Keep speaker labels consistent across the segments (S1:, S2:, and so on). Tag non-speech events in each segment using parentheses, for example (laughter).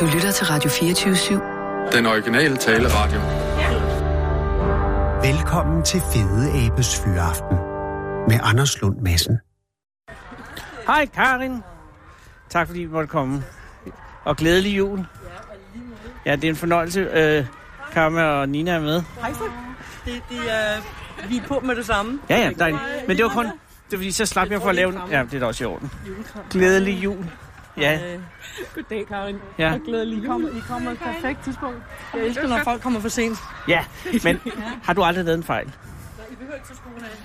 S1: Du lytter til Radio 24-7.
S2: Den originale taleradio.
S3: Velkommen til Fede Abes Fyraften med Anders Lund Madsen.
S4: Hej Karin. Tak fordi vi måtte komme. Og glædelig jul. Ja, det er en fornøjelse. Øh, Karma og Nina er med.
S5: Hej så. Det, det er, vi er på med det samme.
S4: Ja, ja, dejligt. Men det var kun... Det var fordi, så slap jeg for at lave... en- Ja, det er da også i orden. Glædelig jul. Ja,
S5: Øh,
S6: Goddag, Karin.
S4: ja,
S6: Og glædelig
S5: I
S6: jul.
S5: kommer, I kommer et perfekt tidspunkt. Jeg elsker,
S6: Det var
S5: når folk kommer for sent.
S4: ja. Men har du aldrig lavet en fejl?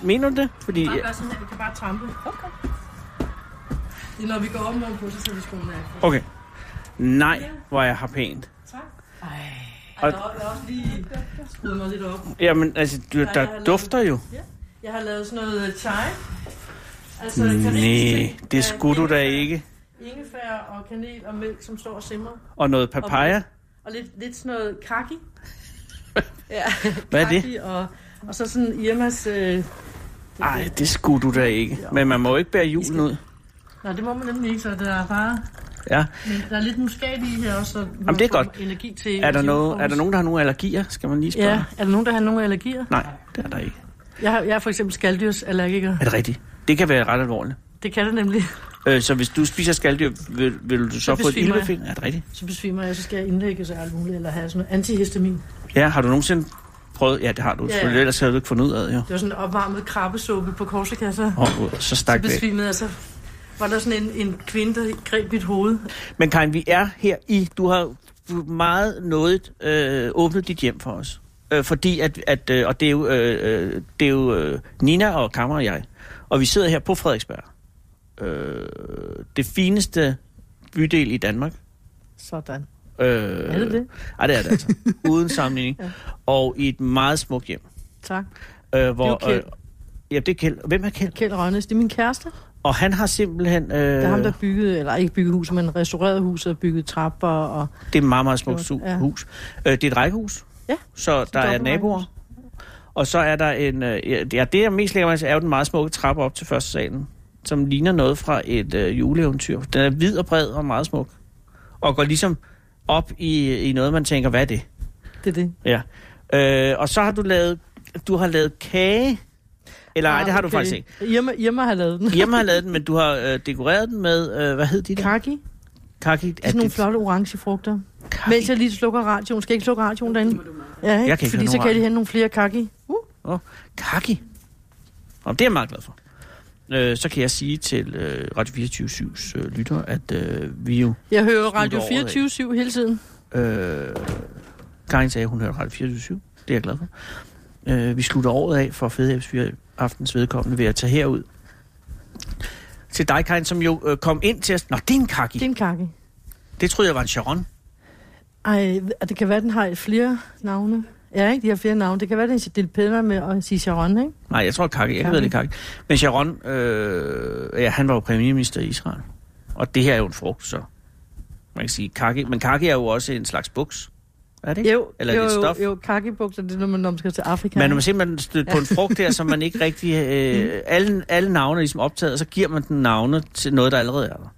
S4: Mener du det? Fordi...
S5: gør sådan, at vi kan bare trampe. Okay. Det er, når vi går om morgen på, så sidder vi skoene af.
S4: Okay. Nej, hvor jeg har pænt.
S5: Og der er også lige skruet mig lidt op.
S4: Jamen, altså, du, der dufter jo.
S5: Jeg har lavet sådan noget øh, chai. Altså,
S4: Nej, det skulle du da ikke.
S5: Ingefær og kanel og mælk, som står og simmer.
S4: Og noget papaya.
S5: Og lidt, lidt sådan noget kaki. Ja,
S4: (laughs) Hvad er det?
S5: kaki Og, og så sådan Irmas... Øh...
S4: Nej, det skulle du da ikke. Men man må jo ikke bære julen ud.
S5: Nej, det må man nemlig ikke, så det er bare...
S4: Ja.
S5: Men der er lidt muskat i her også, så
S4: det er godt.
S5: energi til...
S4: Er der,
S5: til
S4: noget,
S5: julefrokost.
S4: er der nogen, der har nogle allergier? Skal man lige spørge?
S5: Ja, er der nogen, der har nogen allergier?
S4: Nej, det er der ikke.
S5: Jeg, har, jeg er for eksempel skaldyrsallergiker.
S4: Er det rigtigt? Det kan være ret alvorligt.
S5: Det kan det nemlig.
S4: Øh, så hvis du spiser skalddyr, vil, vil du så få et
S5: besvimer jeg.
S4: ildbefind? Er det rigtigt?
S5: Så besvimer jeg, så skal jeg indlægge sig alt muligt, eller have sådan noget antihistamin.
S4: Ja, har du nogensinde prøvet? Ja, det har du
S5: Ja,
S4: selvfølgelig.
S5: ja.
S4: Ellers havde du ikke fundet ud af det, jo.
S5: Det var sådan en opvarmet krabbesuppe på Korsika, så,
S4: Og øh, så
S5: så
S4: stak det.
S5: besvimede jeg, så var der sådan en, en kvinde, der greb mit hoved.
S4: Men Karin, vi er her i... Du har du meget noget øh, åbnet dit hjem for os. Øh, fordi at... at øh, og det er jo, øh, øh, det er jo øh, Nina og Kammer og jeg. Og vi sidder her på Frederiksberg. Øh, det fineste bydel i Danmark.
S5: Sådan.
S4: Øh,
S5: Er det det?
S4: Ej, det er det altså.
S5: (laughs)
S4: Uden sammenligning. ja. Og i et meget smukt hjem.
S5: Tak.
S4: Øh, hvor,
S5: Det er jo Kjeld.
S4: Øh, ja, det er Kjeld. Hvem er Kjeld?
S5: Kjeld Rønnes, det er min kæreste. Det
S4: Og han har simpelthen... Øh, det,
S5: er ham, der byggede, eller ikke byggede huset, men restaurerede huset og byggede trapper. Og,
S4: det er et meget, meget smukt
S5: Gjort,
S4: su-
S5: ja.
S4: hus. Øh, det er et rækkehus.
S5: Ja,
S4: Så der er
S5: dobbeltrækkehus.
S4: naboer. Og så er der en... Øh, ja, det, jeg mest lægger mig til, er jo den meget smukke trappe op til første salen, som ligner noget fra et øh, juleeventyr. Den er hvid og bred og meget smuk. Og går ligesom op i, i noget, man tænker, hvad er det?
S5: det er det.
S4: Ja. Øh, og så har du lavet, du har lavet kage. Eller nej, det har du
S5: Ah, Okay.
S4: faktisk ikke.
S5: Irma, Irma har lavet den.
S4: Hjemme har lavet den, men du har øh, dekoreret den med, øh, hvad hed de der?
S5: Kaki. Det
S4: Kaki.
S5: er sådan nogle flotte orange frugter.
S4: Kaki.
S5: Mens jeg lige slukker radioen. Skal jeg ikke slukke radioen derinde? Ja,
S4: Jeg
S5: ikke?
S4: kan ikke høre
S5: Fordi så
S4: nogen
S5: kan jeg
S4: radio.
S5: lige hente nogle flere kaki. Uh,
S4: Åh, kaki. Og det er jeg meget glad for. Øh, så kan jeg sige til øh, Radio 24-7's øh, lytter, at øh, vi jo...
S5: jeg hører
S4: Slutter
S5: Radio
S4: året af.
S5: 24-7 hele tiden.
S4: Øh, Karin sagde, at hun hørte Radio 24-7. Det er jeg glad for. Øh, vi slutter året af for Fede aftens vedkommende ved at tage herud. Til dig, Karin, som jo øh, kom ind til os... Nå, det er en kaki.
S5: Det er en kaki.
S4: Det troede jeg var en Sharon.
S5: Ej, og det kan være, den har flere navne. Ja, ikke? De har flere navne. Det kan være, den er lidt pænere med at sige Sharon, ikke?
S4: Nej, jeg tror Kaki. Jeg ved det Kaki. Men Sharon, øh, ja, han var jo premierminister i Israel. Og det her er jo en frugt, så man kan sige Kaki. Men Kaki er jo også en slags buks. Er det ikke?
S5: Jo,
S4: Eller
S5: jo,
S4: lidt stof.
S5: jo, jo kakibukser, det er, når man, når man skal til Afrika.
S4: Men når man simpelthen stødt på en frugt her, som man ikke rigtig...
S5: (laughs) Mm.
S4: Øh, alle, alle navne er ligesom optaget, og så giver man den navne til noget, der allerede er der.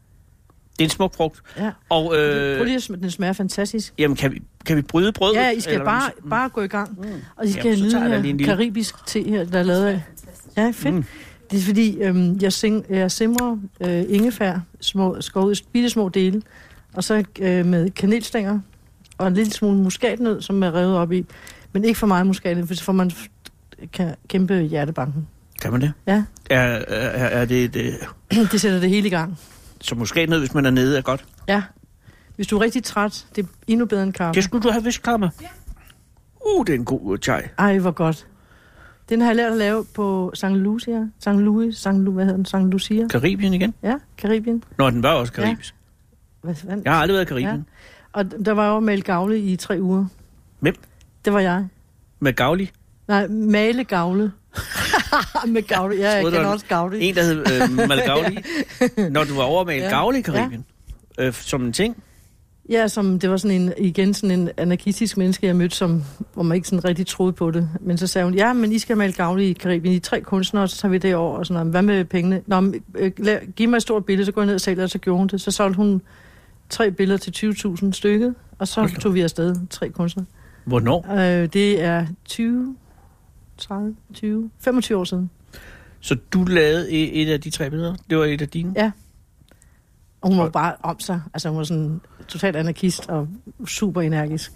S4: Det er en smuk frugt.
S5: Ja.
S4: Og
S5: Prøv
S4: øh,
S5: lige at sm- den smager fantastisk.
S4: jamen, kan, vi, kan vi bryde brødet?
S5: Ja, I skal
S4: Eller hvad man Mm.
S5: bare, bare gå i gang. Og I skal
S4: Jamen,
S5: Jamen,
S4: så tager jeg da
S5: nyde
S4: lige en
S5: her,
S4: lille.
S5: karibisk te her, der er lavet af. Ja, fedt. Mm. Det er fordi, øhm, jeg, sing, jeg simrer øh, ingefær, små, skåret i bitte små dele, og så øh, med kanelstænger og en lille smule muskatnød, som er revet op i. Men ikke for meget muskatnød, for så får man f- kan kæmpe hjertebanken.
S4: siger? Kan man det?
S5: Ja, (clears throat)
S4: Er, er, er det, et, øh,
S5: det sætter det hele i gang.
S4: så måske noget, hvis man er nede, er godt.
S5: Ja. Hvis du er rigtig træt, det er endnu bedre end kaffe.
S4: Det skulle du have vidst, Karma. Ja. Uh, det er en god uh, chai.
S5: Ej, hvor godt. Den har jeg lært at lave på St. Lucia. St. Louis, St. Lu, hvad hedder den? St. Lucia.
S4: Karibien igen?
S5: Ja, Karibien.
S4: Nå, den var også karibisk. Ja.
S5: Hvad, hvad?
S4: Jeg har aldrig været i Karibien. Ja.
S5: Og d- der var jo Male Gavle i tre uger.
S4: Hvem?
S5: Det var jeg.
S4: Med Gavli.
S5: Nej, Male Gavle. (laughs) Med Gavle. Ja, jeg
S4: troede, der
S5: kan
S4: var
S5: også Gavle.
S4: En, der hed
S5: (laughs)
S4: øh, Malgavli. Når du var over med ja. Gavli i Karibien. Ja. Øh, som en ting.
S5: Ja, som, det var sådan en, igen sådan en anarkistisk menneske, jeg mødte, som, hvor man ikke sådan rigtig troede på det. Men så sagde hun, ja, men I skal male gavle i Karibien, I er tre kunstnere, og så tager vi det over, og sådan noget. Hvad med pengene? Nå, men, øh, lav, giv mig et stort billede, så går jeg ned og sælger, og så gjorde hun det. Så solgte hun tre billeder til 20.000 stykket, og så
S4: Hold da
S5: tog vi afsted, tre kunstnere.
S4: Hvornår?
S5: Øh, det er 20, 30, 20, 25 år siden.
S4: Så du lavede e- et af de tre billeder? Det var et af dine?
S5: Ja. Og hun var bare om sig. Altså hun var sådan totalt anarkist og super energisk.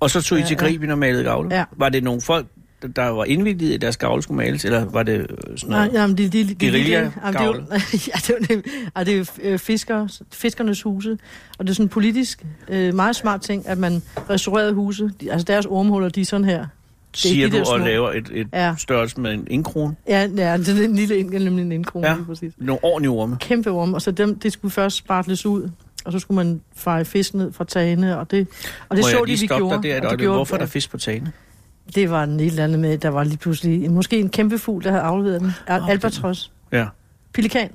S4: Og så tog I
S5: Ja,
S4: til
S5: ja.
S4: Griben og malede gavle?
S5: Ja.
S4: Var det nogle folk, der- der var indvildet i at deres gavle skulle males, eller var det øh, sådan
S5: Nej,
S4: noget?
S5: jamen, det, det, det, det, det,
S4: Guerilla-
S5: jamen, det, er jo- (laughs) ja, det, er jo nem- Ej, det er jo øh, fisker, fiskernes huse, og det er sådan en politisk øh, meget smart ting, at man restaurerede huse. De, altså deres ormhuller, de er sådan her.
S4: Siger
S5: de der
S4: du og
S5: små-
S4: laver et, et
S5: Ja.
S4: størrelse med en indkrone?
S5: Ja, ja det er en lille indgang, nemlig en indkrone,
S4: Ja.
S5: ja. præcis.
S4: Nogle ordentlige orme?
S5: Kæmpe orme, og så dem, det skulle først spartles ud, og så skulle man feje fisk ned fra tagene, og det, og det
S4: Må
S5: så
S4: jeg
S5: de,
S4: lige
S5: vi
S4: stoppe dig
S5: gjorde.
S4: der
S5: og
S4: et
S5: det
S4: øjeblik?
S5: gjorde-
S4: Hvorfor er
S5: ja.
S4: der fisk på tagene?
S5: Det var en et eller andet med, der var lige pludselig en, måske en kæmpe fugl, der havde afleveret den. Al-
S4: Åh,
S5: albatros.
S4: Ja,
S5: Pelikan.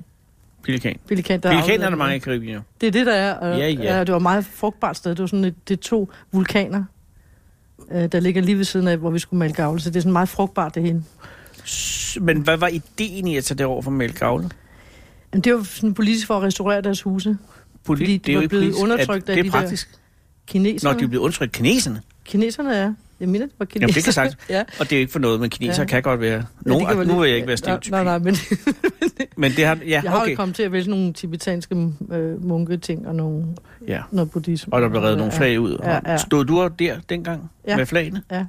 S4: pelikan.
S5: Pelikan, der
S4: Pelikan er
S5: afleverede
S4: der
S5: den.
S4: mange i Karibien jo.
S5: Det er det, der er. Og,
S4: Ja,
S5: ja,
S4: ja.
S5: ja. det var et meget frugtbart sted. Det var sådan et, det er to vulkaner, øh, der ligger lige ved siden af, hvor vi skulle male gavle. Så det er sådan meget frugtbart, det hele.
S4: S- Men hvad var ideen i at tage derover for at male gavle?
S5: Men det var sådan politisk for at restaurere deres huse.
S4: Poli-
S5: Fordi de
S4: jo
S5: var
S4: ikke
S5: blevet
S4: politisk.
S5: undertrykt
S4: Er Det
S5: af de
S4: er
S5: der-
S4: praktisk. Når
S5: Kineserne.
S4: de er blevet undertrykt kineserne.
S5: Kineserne er. Jeg mener, det var kineserne.
S4: Jamen, det kan sagt.
S5: (laughs) ja.
S4: Og det er jo ikke for noget, men kineser ja.
S5: Ja.
S4: kan godt være...
S5: Ja,
S4: Nogen,
S5: det
S4: ja,
S5: kan være
S4: nu
S5: lidt-
S4: vil jeg ikke være stereotyp. (laughs)
S5: Nej, nej, men
S4: Men det har... Ja,
S5: jeg har
S4: okay.
S5: jo kommet til at vælge nogle tibetanske øh, munketing og nogle,
S4: Ja.
S5: noget buddhisme.
S4: Og der blev reddet nogle
S5: Ja.
S4: flag ud.
S5: Ja, ja.
S4: Stod du op der dengang
S5: Ja.
S4: med flagene?
S5: Ja.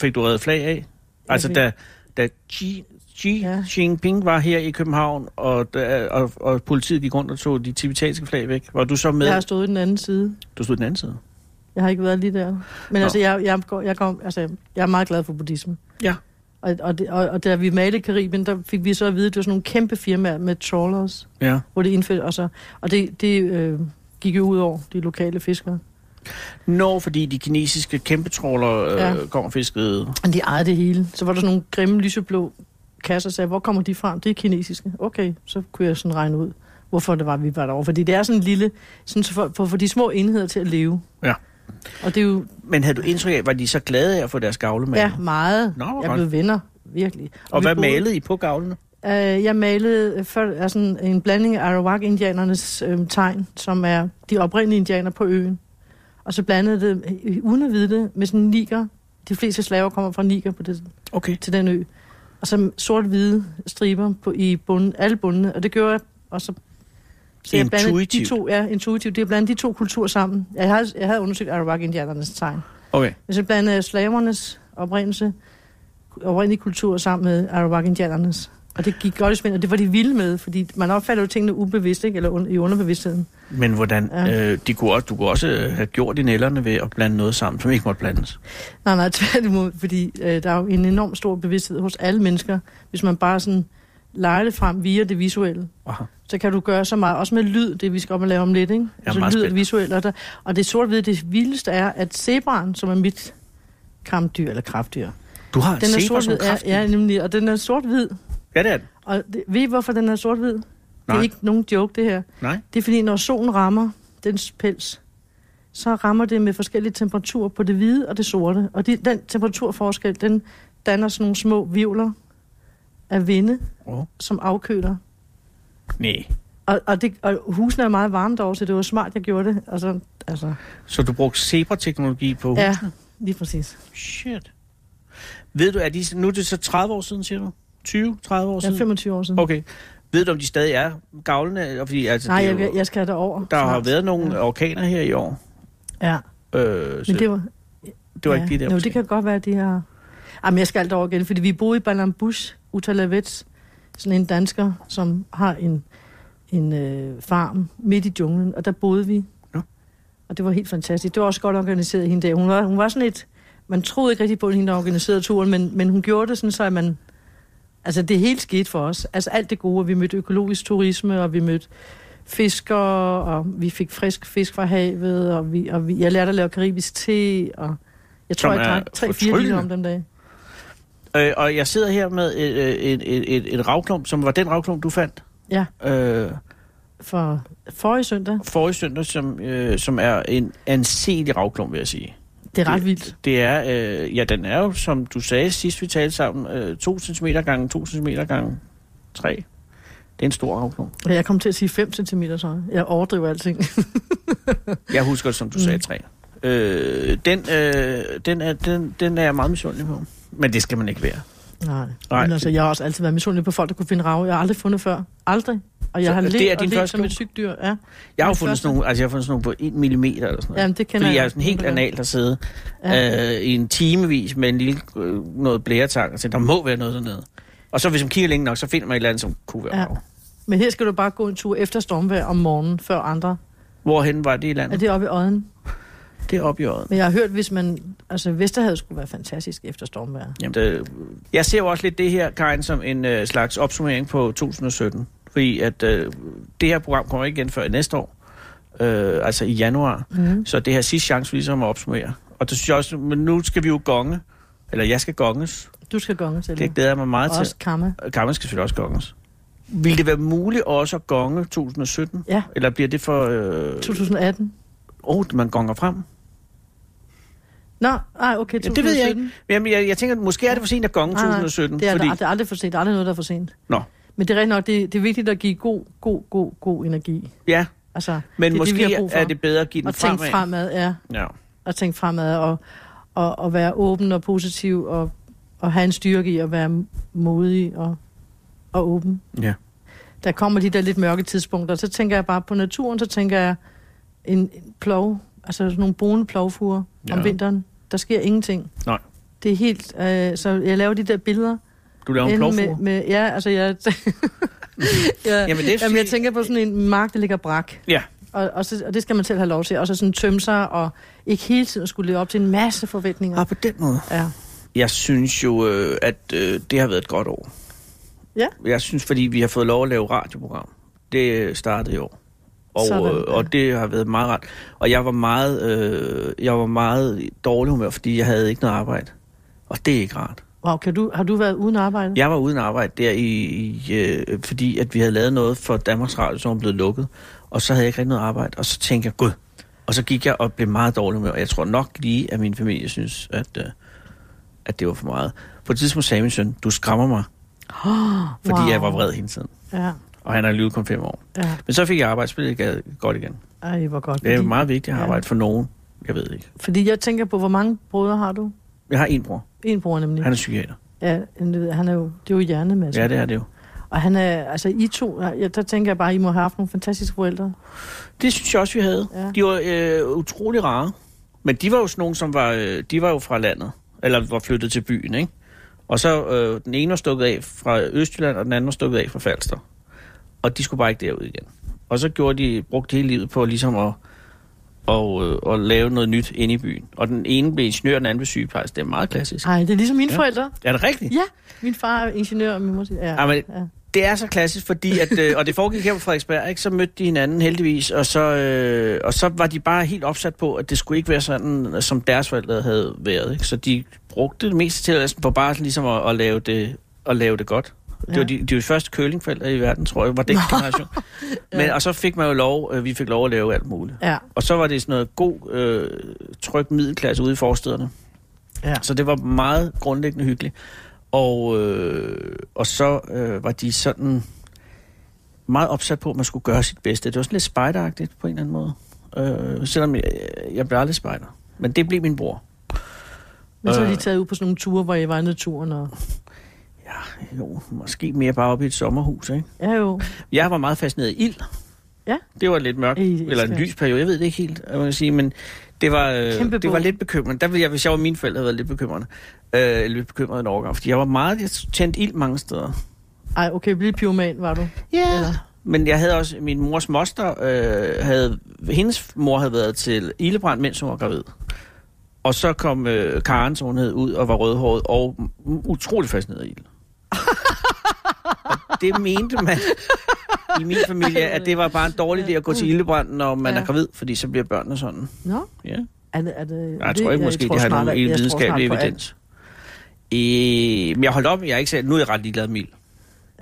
S4: Fik du reddet flag af? Altså,
S5: fik-
S4: da, da Xi, Xi ja.
S5: Ja.
S4: Jinping var her i København, og, da, og, og politiet gik rundt og tog de tibetanske flag væk, var du så med?
S5: Jeg har stået i den anden side.
S4: Du stod den anden side.
S5: Jeg har ikke været lige der. Men
S4: Nå.
S5: altså, jeg, jeg, går, jeg, kom, altså, jeg er meget glad for buddhisme.
S4: Ja.
S5: Og, og, det, og, og da vi malede Karibien, der fik vi så at vide, at det var sådan nogle kæmpe firmaer med trawlers,
S4: Ja.
S5: hvor det indfødte og så. Og det, det øh, gik jo ud over de lokale fiskere.
S4: Når fordi de kinesiske kæmpetråler øh, ja.
S5: Ja.
S4: kom og fiskede.
S5: Og de ejede det hele. Så var der sådan nogle grimme lyseblå kasser, og sagde, hvor kommer de fra? Det er kinesiske. Okay, så kunne jeg sådan regne ud, hvorfor det var, vi var derovre. Fordi det er sådan en lille, sådan så for, for, for de små enheder til at leve.
S4: Ja.
S5: Og det er jo
S4: Men havde du indtryk af, var de så glade af at få deres gavle med?
S5: ja, meget.
S4: Nå, hvor
S5: jeg
S4: godt.
S5: blev venner, virkelig.
S4: Og
S5: vi
S4: hvad
S5: boede-
S4: malede I på gavlene?
S5: Øh, jeg malede øh, før, altså en, en blanding af Arawak-indianernes øh, tegn, som er de oprindelige indianer på øen. Og så blandede det, øh, uden at vide det, med sådan en niger. De fleste slaver kommer fra niger på det,
S4: Okay.
S5: til den ø. Og så sort-hvide striber på, i bunden, alle bundene. Og det gjorde jeg, og så... Så jeg blandede de
S4: Intuitivt.
S5: to, ja, intuitivt. Det er blandt de to kulturer sammen. Jeg havde, jeg havde undersøgt Arawak-indianernes tegn.
S4: Okay.
S5: Men så blandede jeg slavernes oprindelse, oprindelige kultur sammen med Arawak-indianernes. Og det gik godt i spænd, og det var de vilde med, fordi man opfatter jo tingene ubevidst, ikke? eller un- i underbevidstheden.
S4: Men hvordan,
S5: Ja.
S4: ja. øh, de kunne også, du kunne også øh, have gjort i nælderne ved at blande noget sammen, som ikke måtte blandes.
S5: Nej, nej, (laughs) tværtimod, fordi øh, der er jo en enorm stor bevidsthed hos alle mennesker, hvis man bare sådan leger det frem via det visuelle.
S4: Aha.
S5: Så kan du gøre så meget, også med lyd, det vi skal op og lave om lidt, ikke?
S4: Ja,
S5: Altså
S4: meget
S5: lyd og det
S4: spændende.
S5: visuelle. Og, der, og det sort-hvide, det vildeste er, at zebraen, som er mit kampdyr, eller kraftdyr,
S4: Du har
S5: den
S4: zebra
S5: er
S4: som
S5: sort-hvid, ja,
S4: kraft.
S5: ja, nemlig, og den er sort-hvid,
S4: ja, det er den.
S5: Og det, ved I, hvorfor den er sort-hvid? Det
S4: Nej.
S5: er ikke nogen joke, det her.
S4: Nej.
S5: Det er fordi, når solen rammer dens pels, så rammer det med forskellige temperaturer på det hvide og det sorte. Og de, den temperaturforskel, den danner sådan nogle små vivler af vinde,
S4: Åh.
S5: som afkøler.
S4: Nej.
S5: Og, og, det, og husene er meget varme derovre, så det var smart, jeg gjorde det. Altså, altså,
S4: Så du brugte zebra-teknologi på
S5: ja,
S4: husene?
S5: lige præcis.
S4: Shit. Ved du, er de, nu er det så 30 år siden, siger du? 20, 30 år
S5: Jeg er
S4: siden?
S5: 25 år siden.
S4: Okay. Ved du, om de stadig er gavlende? Fordi, altså,
S5: Nej,
S4: det er
S5: jeg,
S4: jo,
S5: jeg skal derover.
S4: der har
S5: snart.
S4: været nogle
S5: Ja,
S4: orkaner her i år.
S5: ja.
S4: Øh, så
S5: men det var,
S4: det var ikke de der.
S5: Jo,
S4: måske.
S5: det kan godt være, at de har... Jamen, jeg skal alt over igen, fordi vi boede i Balambush, Utalavets, sådan en dansker, som har en, en øh, farm midt i junglen, og der boede vi.
S4: Nå.
S5: Og det var helt fantastisk. Det var også godt organiseret hende der. Hun var, hun var sådan et... Man troede ikke rigtig på, at hende der organiserede turen, men, men hun gjorde det sådan, så at man... Altså, det hele skete for os. Altså, alt det gode. og Vi mødte økologisk turisme, og vi mødte fiskere, og vi fik frisk fisk fra havet, og, vi, og vi, jeg lærte at lave karibisk te, og jeg tror,
S4: Som
S5: jeg
S4: er
S5: drak tre-fire
S4: fortryllende.
S5: liter om den dag.
S4: Øh, og jeg sidder her med et, et, et, et, et ravklump, som var den ravklump, du fandt.
S5: Ja.
S4: Øh,
S5: For forrige søndag,
S4: forrige søndag, som, øh, som er en anselig ravklump, vil jeg sige.
S5: det er ret vildt.
S4: Det er, øh, ja, den er jo, som du sagde sidst, vi talte sammen, øh, 2 cm gange 2 cm gange 3. Det er en stor afgrund.
S5: Og Jeg kom til at sige 5 cm, så jeg overdriver alting.
S4: Jeg husker det, som
S5: Mm.
S4: du sagde, træ. Øh, den, øh, den, er, den, den er jeg meget misundelig på. Men det skal man ikke være.
S5: Nej.
S4: Nej.
S5: Nej. Men altså, jeg har også altid været misundelig på folk, der kunne finde rave. Jeg har aldrig fundet før. Aldrig. Og jeg
S4: Så
S5: har
S4: det er
S5: let og
S4: din
S5: let
S4: første
S5: som et
S4: duk?
S5: sygt dyr. Ja.
S4: Jeg har jo
S5: Den
S4: fundet
S5: første.
S4: sådan nogle, altså jeg har fundet sådan nogle på 1 mm eller sådan noget.
S5: Jamen, det kender
S4: Fordi jeg
S5: jeg.
S4: er sådan helt
S5: Ja.
S4: analt at sidde
S5: Ja.
S4: ja. øh, i en timevis med en lille øh, noget blæretang og tænke, der må være noget dernede. Og så hvis man kigger længe nok, så finder man et eller andet, som kunne være
S5: Ja.
S4: ja. rave.
S5: Men her skal du bare gå en tur efter stormvejr om morgenen, før andre.
S4: Hvorhen var det i
S5: Er
S4: landet? Det...
S5: det oppe i øjen?
S4: det er op i øjet.
S5: Men jeg har hørt, hvis man... Altså, Vesterhavet skulle være fantastisk efter stormvejr.
S4: Jamen, det, jeg ser jo også lidt det her, Karin, som en øh, slags opsummering på 2017. Fordi at øh, det her program kommer ikke igen før næste år. Øh, altså i januar.
S5: Mm.
S4: Så det her sidste chance, vi ligesom at opsummere. Og det synes jeg også, men nu skal vi jo gonge. Eller jeg skal gonges.
S5: Du skal gonge til
S4: Det glæder jeg mig meget
S5: Og
S4: til.
S5: også kamma.
S4: Gammel skal selvfølgelig også gonges. Vil det være muligt også at gonge 2017?
S5: Ja.
S4: Eller bliver det for... Øh,
S5: 2018.
S4: oh, man gonger frem?
S5: Nå, ej, okay, 2017.
S4: Ja, det ved jeg ikke. Jamen, jeg, jeg tænker, måske er det for sent at gonge
S5: Nej, nej,
S4: 2017.
S5: Det er,
S4: fordi,
S5: fordi... det er aldrig for sent. Der er aldrig noget, der er for sent.
S4: Nå.
S5: Men det er rigtig nok, det, det er vigtigt at give god, god, god, god energi.
S4: ja,
S5: Altså,
S4: men
S5: det, er
S4: måske
S5: det, vi har brug
S4: det,
S5: for.
S4: er det bedre at give den
S5: at tænke
S4: fremad.
S5: fremad, ja.
S4: Ja.
S5: At tænke fremad og, og, og være åben og positiv og, og have en styrke i at være modig og, og åben.
S4: ja.
S5: Der kommer de der lidt mørke tidspunkter. Så tænker jeg bare på naturen, så tænker jeg en, en plov, altså sådan nogle brune plovfuger ja.
S4: Ja.
S5: om vinteren. Der sker ingenting.
S4: Nej.
S5: Det er helt... Øh, så jeg laver de der billeder.
S4: Du laver en
S5: enten
S4: plovfugl.
S5: med, med, Ja, altså jeg... (laughs) ja,
S4: Jamen, det er
S5: jamen, jeg
S4: fordi-
S5: tænker på sådan en mark, der ligger brak.
S4: Ja,
S5: Og, og, så, og det skal man selv have lov til. Og så sådan tømme sig, og ikke hele tiden skulle leve op til en masse forventninger.
S4: og på den måde.
S5: Ja.
S4: Jeg synes jo, øh, at øh, det har været et godt år.
S5: Ja.
S4: Jeg synes, fordi vi har fået lov at lave radioprogram. Det øh, startede i år. Og,
S5: Sådan,
S4: øh,
S5: ja.
S4: og det har været meget rart. Og jeg var meget, øh, jeg var meget i dårlig humør, fordi jeg havde ikke noget arbejde. Og det er ikke rart.
S5: Wow, kan du, har du været uden arbejde?
S4: Mm-hmm. Jeg var uden arbejde der, i, i, øh, fordi at vi havde lavet noget for Danmarks Radio, som var blevet lukket. Og så havde jeg ikke rigtig noget arbejde, og så tænkte jeg, gud. Og så gik jeg og blev meget dårlig med, og jeg tror nok lige, at min familie synes, at, øh, at det var for meget. På et tidspunkt sagde min søn, du skræmmer mig, fordi wow. jeg var vred hele tiden.
S5: Ja,
S4: Og han har lige kun fem år.
S5: ja.
S4: Men så fik jeg arbejdsspillet godt igen.
S5: Ej, hvor godt.
S4: Det er
S5: fordi,
S4: meget vigtigt at
S5: ja.
S4: arbejde for nogen. Jeg ved ikke.
S5: fordi jeg tænker på, hvor mange brødre har du?
S4: Jeg har en bror.
S5: En bror nemlig.
S4: Han er psykiater.
S5: Ja, men det ved jeg, han er jo, det er jo hjernemasser.
S4: Ja, det er det jo.
S5: Og han er, altså I to, ja, der tænker jeg bare, I må have haft nogle fantastiske forældre.
S4: Det synes jeg også, vi havde. Ja.
S5: Ja.
S4: De var øh, utrolig rare. Men de var jo sådan nogen, som var, øh, de var jo fra landet. Eller var flyttet til byen, ikke? Og så øh, den ene var stukket af fra Østjylland, og den anden var stukket af fra Falster. Og de skulle bare ikke derud igen. Og så gjorde de, brugte hele livet på ligesom at, og, øh, at lave noget nyt inde i byen. Og den ene blev ingeniør, og den anden blev sygeplejerske. Det er meget klassisk.
S5: Nej, det er ligesom mine
S4: Ja.
S5: ja. forældre.
S4: Er det rigtigt?
S5: Ja, min far er ingeniør, og min mor siger, ja.
S4: Ja, men-
S5: ja.
S4: Det er så klassisk, fordi at, øh, og det foregik her på Frederiksberg, ikke? så mødte de hinanden heldigvis, og så, øh, og så var de bare helt opsat på, at det skulle ikke være sådan, som deres forældre havde været. Ikke? Så de brugte det meste til at- på bare sådan ligesom at, at, lave, det, at lave det godt. Ja. Det var
S5: Ja.
S4: de, de var første curlingforældre i verden, tror jeg, var den generation. Men, og så fik man jo lov, øh, vi fik lov at lave alt muligt.
S5: Ja,
S4: Og så var det sådan noget god, øh, tryg middelklasse ude i forstederne.
S5: ja.
S4: Så det var meget grundlæggende hyggeligt. Og, øh, og så øh, var de sådan meget opsat på, at man skulle gøre sit bedste. Det var sådan lidt spejderagtigt på en eller anden måde. Øh, selvom jeg, jeg blev aldrig spejder. Men det blev min bror.
S5: Men så er de
S4: Øh.
S5: taget ud på sådan nogle ture, hvor I var i naturen. Og...
S4: Jo, måske mere bare op i et sommerhus, ikke?
S5: Ja jo,
S4: Jeg var meget fascineret af ild.
S5: Ja.
S4: Det var lidt mørkt,
S5: I-
S4: eller en
S5: skal-
S4: lys periode, jeg ved det ikke helt, hvad man kan sige, men det var, øh,
S5: Kæmpe
S4: det var
S5: bog.
S4: lidt bekymrende. Der ville jeg, hvis jeg var mine forældre, havde været lidt bekymrende. Øh, lidt bekymret en overgang, fordi jeg var meget, jeg tændte ild mange steder.
S5: Ej, okay, bliv pyroman, var du.
S4: Ja.
S5: Eller?
S4: Men jeg havde også, min mors moster, øh, havde, hendes mor havde været til ildebrand, mens hun var gravid. Og så kom øh, Karen, som hun hed, ud og var rødhåret og u- utrolig fascineret af (laughs) ild. og det mente man i min familie, at det var bare en dårlig idé at gå til ildebrand, når man ja.
S5: Ja.
S4: er gravid, fordi så bliver børnene sådan.
S5: Nå,
S4: Ja.
S5: er det, er det,
S4: Jeg tror ikke måske, de har nogen videnskabelig evidens. Øh, men jeg holdt op, jeg er ikke selv, nu er jeg ret ligeglad med ild.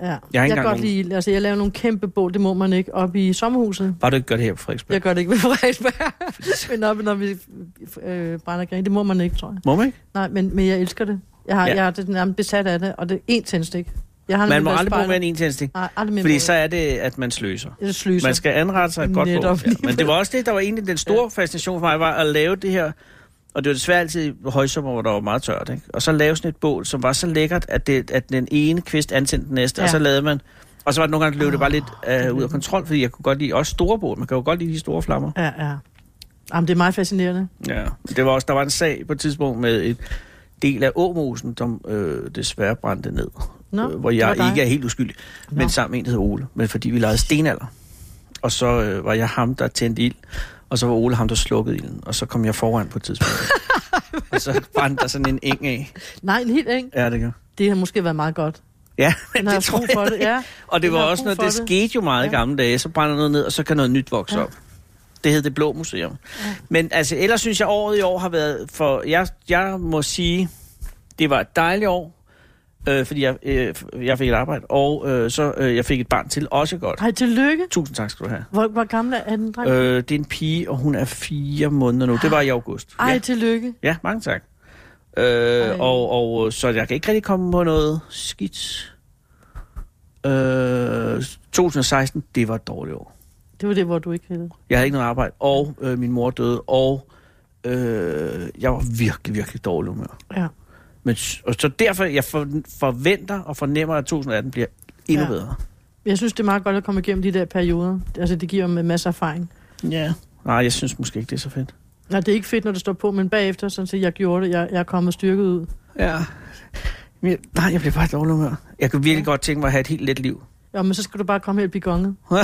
S5: Ja. Jeg,
S4: ikke
S5: jeg kan
S4: engang
S5: godt lide, ild. altså jeg laver nogle kæmpe bål, det må man ikke, op i sommerhuset.
S4: Bare du ikke gør det her på Frederiksberg.
S5: Jeg gør det ikke ved
S4: (laughs)
S5: Frederiksberg, men op, når vi øh, brænder grin, det må man ikke, tror jeg.
S4: Må man ikke?
S5: Nej, men, men jeg elsker det. Jeg, har,
S4: Ja.
S5: ja. jeg er det nærmest besat af det, og det er én tændstik. Jeg har aldrig
S4: Man må
S5: været
S4: aldrig bruge
S5: spejder.
S4: mere end en tændstik.
S5: Nej, aldrig mere
S4: Fordi så er det, at man sløser.
S5: Jeg sløser.
S4: Man skal anrette sig godt
S5: Netop
S4: på. Ja.
S5: lige
S4: Men det var også det, der var egentlig den store fascination for mig, var at lave det her. Og det var desværre altid højsommer, hvor der var meget tørt. Ikke? Og så lave sådan et bål, som var så lækkert, at, det, at den ene kvist antændte den næste, ja.
S5: Ja. Mm.
S4: og så lavede man... Og så var det nogle gange, at løb det bare lidt øh, ud af kontrol, fordi jeg kunne godt lide også store bål. Man kan jo godt lide de store flammer.
S5: Ja, ja. Jamen, det er meget fascinerende.
S4: Ja. Det var også, der var en sag på et tidspunkt med et del af Åmosen, som øh, desværre brændte ned.
S5: Nå,
S4: øh, hvor
S5: det var
S4: jeg
S5: dig.
S4: ikke er helt uskyldig, men
S5: Nå.
S4: sammen med en, der hed Ole. Men fordi vi legede stenalder. Og så øh, var jeg ham, der tændte ild, og så var Ole ham, der slukkede ilden. Og så kom jeg foran på et
S5: (laughs)
S4: tidspunkt. og så brændte der sådan en eng af.
S5: Nej, en helt eng.
S4: Ja, det gør.
S5: Det har måske været meget godt.
S4: Ja,
S5: Den
S4: (laughs)
S5: har
S4: det
S5: haft
S4: tror
S5: brug
S4: jeg.
S5: for det. Ja.
S4: Og det
S5: Den
S4: var
S5: har
S4: også
S5: brug
S4: noget,
S5: for
S4: det
S5: det.
S4: skete jo meget ja. i
S5: Ja.
S4: gamle dage. Så brænder noget ned, og så kan noget nyt vokse ja.
S5: Ja.
S4: op. Det hed Det Blå Museum. Ja. Men altså, ellers synes jeg, året i år har været for... Jeg, jeg må sige, det var et dejligt år, øh, fordi jeg, øh, jeg fik et arbejde, og øh, så øh, jeg fik et barn til, også godt.
S5: Ej, tillykke.
S4: Tusind tak skal du have.
S5: Hvor, hvor gammel er den dreng? Øh,
S4: Øh, det er en pige, og hun er fire måneder nu. Det var i august.
S5: Ej,
S4: Ja,
S5: tillykke.
S4: ja mange tak.
S5: Ej.
S4: Øh, og, og, så jeg kan ikke rigtig komme på noget skidt. Øh, 2016, det var et dårligt år.
S5: Det var det, hvor du ikke ville.
S4: Jeg havde ikke noget arbejde, og øh, min mor døde, og øh, jeg var virkelig, virkelig dårlig humør.
S5: Ja.
S4: Men, s- og så derfor, jeg for, forventer og fornemmer, at 2018 bliver endnu ja.
S5: Ja.
S4: bedre.
S5: Jeg synes, det er meget godt at komme igennem de der perioder. Altså, det giver mig masser af erfaring.
S4: Ja. Nej, jeg synes måske ikke, det er så fedt.
S5: Nej, det er ikke fedt, når det står på, men bagefter, sådan set, jeg gjorde det. Jeg, jeg er kommet styrket ud.
S4: Ja. Men jeg- Nej, jeg bliver bare i dårlig humør. Jeg kunne virkelig godt tænke mig at have et helt let (laughs) liv.
S5: Ja, men så skal du bare komme helt begonget.
S4: Ja,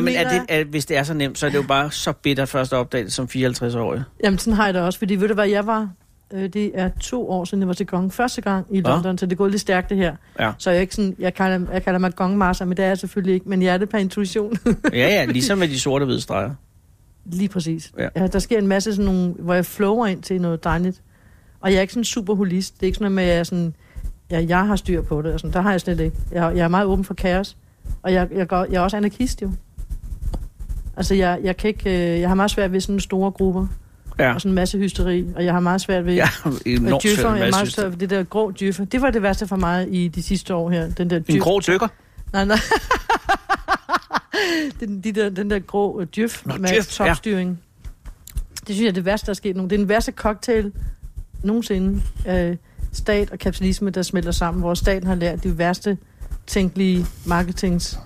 S4: men er det,
S5: jeg.
S4: er, hvis det er så nemt, så er det jo bare så bitter første opdagelse som 54-årig.
S5: Jamen, sådan har jeg det også, fordi ved du, hvad jeg var? Øh, Det er to år siden, jeg var til gong første gang i
S4: Hva?
S5: London, så det går lidt stærkt, det her.
S4: Ja.
S5: Så jeg, er ikke sådan, jeg, kalder, jeg kalder mig gongmaster, men det er jeg selvfølgelig ikke. Men jeg er det per intuition.
S4: Ja,
S5: (laughs)
S4: ja, ligesom med de sorte og hvide streger.
S5: Lige præcis.
S4: Ja.
S5: Ja. Ja, der sker en masse sådan nogle, hvor jeg flower ind til noget dejligt. Og jeg er ikke sådan super holist. Det er ikke sådan noget med, at jeg, er sådan, ja, jeg har styr på det. Og sådan. Der har jeg slet ikke. Jeg, jeg er meget åben for kaos. Og jeg, jeg, går, jeg er også anarkist jo. Altså, jeg, jeg, kan ikke, øh, jeg har meget svært ved sådan store grupper.
S4: Ja,
S5: Og sådan en masse hysteri. Og jeg har meget svært ved...
S4: ja
S5: øh,
S4: enormt
S5: djøffere.
S4: svært
S5: jeg er meget
S4: masse.
S5: svært ved det der grå djøffer. Det var det værste for mig i de sidste år her. Den der
S4: En
S5: djøf-
S4: grå tykker.
S5: Nej, (laughs) nej. den, de der, den der grå øh, djøf
S4: Nå,
S5: med
S4: djøf, ja.
S5: topstyring. Det synes jeg er det værste, der er sket nu. Det er den værste cocktail nogensinde. Øh, stat og kapitalisme, der smelter sammen, hvor staten har lært de værste tænkelige marketings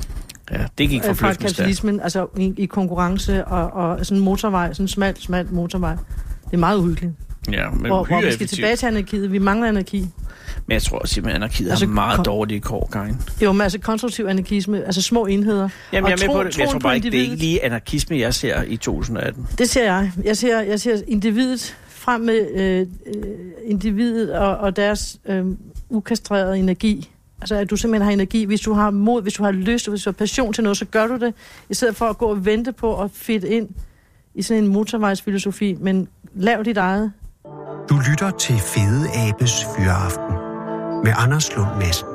S4: Ja, det gik
S5: øh, fra
S4: forbløffende stærkt.
S5: kapitalismen, altså i, i konkurrence og, og sådan en motorvej, sådan en smal, smal motorvej. Det er meget uhyggeligt.
S4: Ja, men
S5: Hvor, hvor vi skal
S4: hyreeffektivt.
S5: tilbage til anarkiet. Vi mangler anarki.
S4: Men jeg tror simpelthen, at anarkiet
S5: Altså,
S4: har meget
S5: kom-
S4: dårlige kår, Karin.
S5: Jo, men altså konstruktiv anarkisme, altså små enheder.
S4: Jamen,
S5: Og
S4: jeg er med
S5: tro-
S4: på det. men Jeg
S5: troen
S4: tror
S5: på
S4: bare ikke, det er
S5: individet.
S4: ikke lige anarkisme, jeg ser i 2018.
S5: Det ser jeg. Jeg ser, jeg ser individet frem med øh, øh, individet og, og deres øh, ukastrerede energi. Altså, at du simpelthen har energi. Hvis du har mod, hvis du har lyst, hvis du har passion til noget, så gør du det. I stedet for at gå og vente på at fitte ind i sådan en motorvejsfilosofi. Men lav dit eget.
S3: Du lytter til Fede Abes Fyraften med Anders Lund Madsen.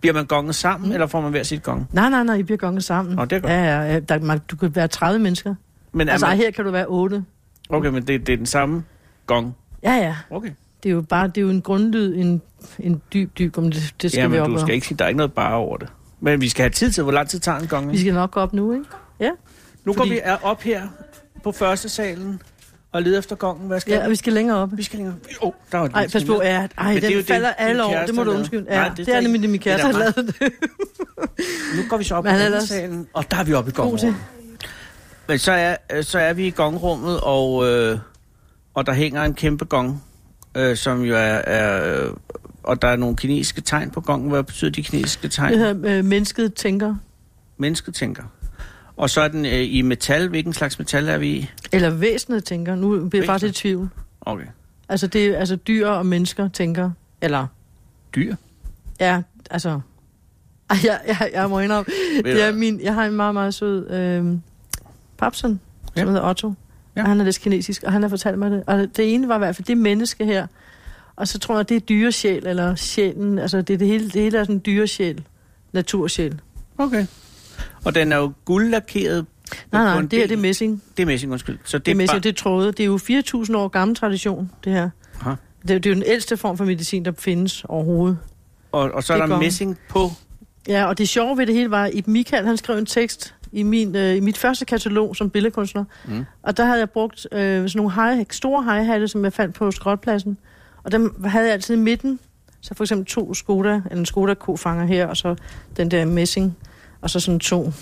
S4: Bliver man gonget sammen, mm. eller får man hver sit gong?
S5: Nej, nej, nej, I bliver gonget sammen.
S4: Nå, det er godt.
S5: Ja, ja, ja. Der, man, du kan være 30 mennesker.
S4: Men er
S5: altså,
S4: man...
S5: her kan du være 8.
S4: Okay, men det, det er den samme gong.
S5: Ja, ja.
S4: Okay.
S5: Det er jo bare det er jo en grundlyd, en, en dyb, dyb... om Det, det skal
S4: Jamen,
S5: vi op
S4: du skal ikke sige, der er ikke noget bare over det. Men vi skal have tid til, hvor lang tid tager en gong?
S5: Vi skal nok gå op nu, ikke? Ja.
S4: Nu går
S5: Fordi-
S4: vi er op her på første salen og leder efter gongen. Hvad skal
S5: Ja, og vi skal længere op.
S4: vi skal længere. Åh, oh, der var et
S5: Ej,
S4: lille
S5: pas på,
S4: knæ.
S5: ja. Ej,
S4: Men det er jo
S5: den
S4: det,
S5: falder
S4: din
S5: alle over.
S4: kæreste
S5: Det må du
S4: lavede.
S5: undskylde.
S4: Nej,
S5: Ja,
S4: det er
S5: det
S4: der
S5: er nemlig
S4: ikke.
S5: det, min
S4: Det er
S5: kæreste
S4: der
S5: har lavet det.
S4: Nu går vi så op i
S5: Men han er
S4: anden
S5: ellers-
S4: salen, og der er vi oppe i
S5: God til.
S4: gongrummet. Men så er, øh, så er vi i gongrummet, og, øh, og der hænger en kæmpe gong, øh, som jo er... er øh, og der er nogle kinesiske tegn på gongen. Hvad betyder de kinesiske tegn?
S5: Det hedder øh, Mennesket Tænker.
S4: Mennesket tænker. Og så er den øh, i metal. Hvilken slags metal er vi i?
S5: Eller Væsenet Tænker. Nu bliver jeg faktisk i tvivl.
S4: Okay.
S5: Altså, det er altså dyr og mennesker tænker. Eller,
S4: Dyr.
S5: ja, altså... Ej, jeg, jeg, jeg må indrømme.
S4: du
S5: Det er
S4: hvad?
S5: min, jeg har en meget, meget sød øh, papson, som
S4: Ja.
S5: hedder Otto.
S4: Ja.
S5: Ja. Og han er læst kinesisk, og han har fortalt mig det. Og det ene var i hvert fald, det menneske her. Og så tror jeg, det er dyresjæl, eller sjælen. Altså, det, er det, hele, det hele er sådan dyresjæl, natursjæl.
S4: Okay. Og den er jo guldlakeret.
S5: Nej,
S4: på
S5: nej,
S4: en
S5: det er
S4: del-
S5: det er messing.
S4: Det er messing, undskyld. Så det,
S5: Det er messing,
S4: bare...
S5: det er tråde. Det er jo 4.000 år gammel tradition, det her.
S4: Aha.
S5: Det, er jo- det er jo den ældste form for medicin, der findes overhovedet.
S4: Og, og så er
S5: Det
S4: der
S5: går.
S4: messing på.
S5: Ja, og det sjove ved det hele var, at Michael han skrev en tekst i, min, øh, i mit første katalog som billedkunstner.
S2: Mm.
S5: Mm. Og der havde jeg brugt øh, sådan nogle high, store high som jeg fandt på skrotpladsen. Og dem havde jeg altid i midten. Så for eksempel to Skoda, eller en Skoda kofanger her, og så den der messing. Og så sådan to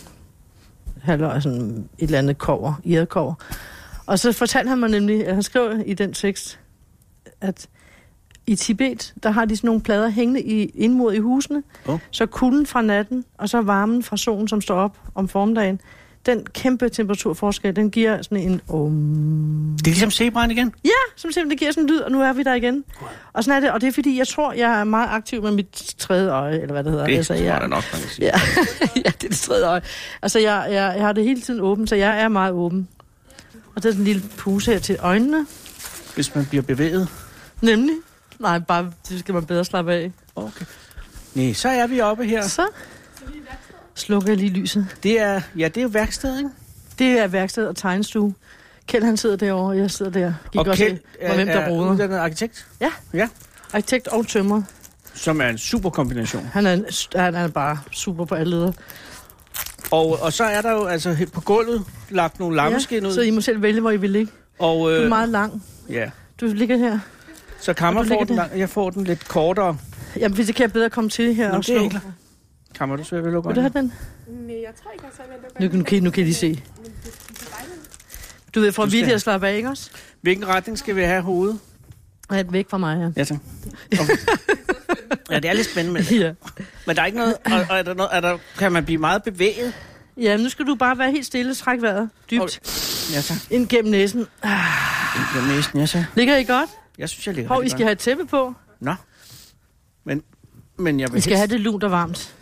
S5: halvøj, sådan et eller andet kover, irkover. Og så fortalte han mig nemlig, at han skrev i den tekst, at i Tibet, der har de sådan nogle plader hængende i, indmod i husene, så kulden fra natten, og så varmen fra solen, som står op om formiddagen, den kæmpe temperaturforskel, den giver sådan en um,
S4: Det er ligesom zebraen igen.
S5: som simpelthen giver sådan en lyd, og nu er vi der igen. Og sådan er det, og det er fordi, jeg tror, jeg er meget aktiv med mit tredje øje, eller hvad det hedder. Altså,
S4: Det tror jeg
S5: jeg,
S4: da nok, man kan sige.
S5: Ja, (laughs) ja, det er det tredje øje. Altså, jeg, jeg, jeg har det hele tiden åbent, så jeg er meget åben. Og der er sådan en lille puse her til øjnene,
S4: Hvis man bliver bevæget.
S5: nemlig. Nej, bare, det skal man bedre slappe af.
S4: Okay. Nej, så er vi oppe her.
S5: Så slukker jeg lige lyset.
S4: Det er, ja, det er jo værkstedet, ikke?
S5: Det er værksted og tegnestue. Kjeld han sidder derovre, og jeg sidder der. Gik
S4: og
S5: også,
S4: Kjeld
S5: ind, hvor hvem der roder.
S4: uddannet arkitekt,
S5: Arkitekt og tømrer.
S4: som er en super kombination.
S5: Han er, en, han er bare super på alle leder.
S4: Og, og så er der jo altså he- på gulvet lagt nogle lammeskin ja, ud.
S5: så I må selv vælge, hvor I vil ligge.
S4: og,
S5: Du
S4: øh,
S5: er meget lang.
S4: ja.
S5: Du ligger her.
S4: Så Kammer
S5: Og du
S4: får
S5: ligger
S4: den,
S5: der.
S4: lang- jeg får den lidt kortere.
S5: Jamen, hvis det kan jeg bedre komme til her
S4: Nå,
S5: og
S4: det er
S5: slå.
S4: ikke Kammer, du svært ved at lukke
S5: Vil du
S4: øjnene?
S5: have den?
S6: Nej, Øh, jeg tror ikke, jeg så vil lukke
S5: Nu, nu, kan, nu kan de se. Du ved, for
S4: Du
S5: at vi
S4: skal-
S5: at slappe af, ikke også?
S4: Hvilken retning skal vi have hovedet?
S5: At væk fra mig, ja. (laughs)
S4: Ja, tak. Okay. ja, det er lidt spændende. Men,
S5: ja.
S4: men der er ikke noget... Og, og er der noget er der, kan man blive meget bevæget?
S5: Ja, nu skal du bare være helt stille, træk vejret dybt
S4: Ja, tak.
S5: ind gennem næsen.
S4: Jeg er næsten, ja, tak.
S5: Ligger I godt?
S4: Jeg synes, jeg ligger
S5: Hov, I
S4: rigtig
S5: skal have et tæppe på.
S4: godt. Men, men jeg vil
S5: I skal have
S4: helst-
S5: det lunt og varmt.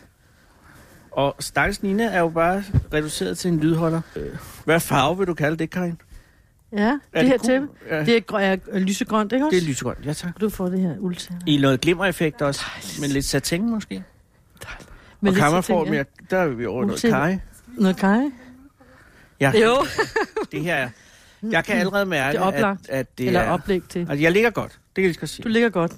S4: Og Stakkels Nina er jo bare reduceret til en lydholder. Øh, Hvad farve vil du kalde det, Karin?
S5: Ja, det her
S4: gul?
S5: tæppe.
S4: Ja, det,
S5: Det er, grø- er er lysegrønt, ikke også?
S4: det er lysegrønt, ja tak.
S5: Du får det her uldtænder.
S4: I noget glimmereffekt også, men lidt satin måske. Men og kammerform, ja. der er vi over i noget
S5: Usikker.
S4: kaj.
S5: Noget
S4: (laughs)
S5: kaj?
S4: Ja,
S5: Jo,
S4: det her er... Jeg kan allerede mærke,
S5: Det er oplagt.
S4: at, at det
S5: (laughs) eller
S4: er...
S5: oplæg til.
S4: Altså, jeg ligger godt, det kan jeg lige så godt sige.
S5: Du ligger godt.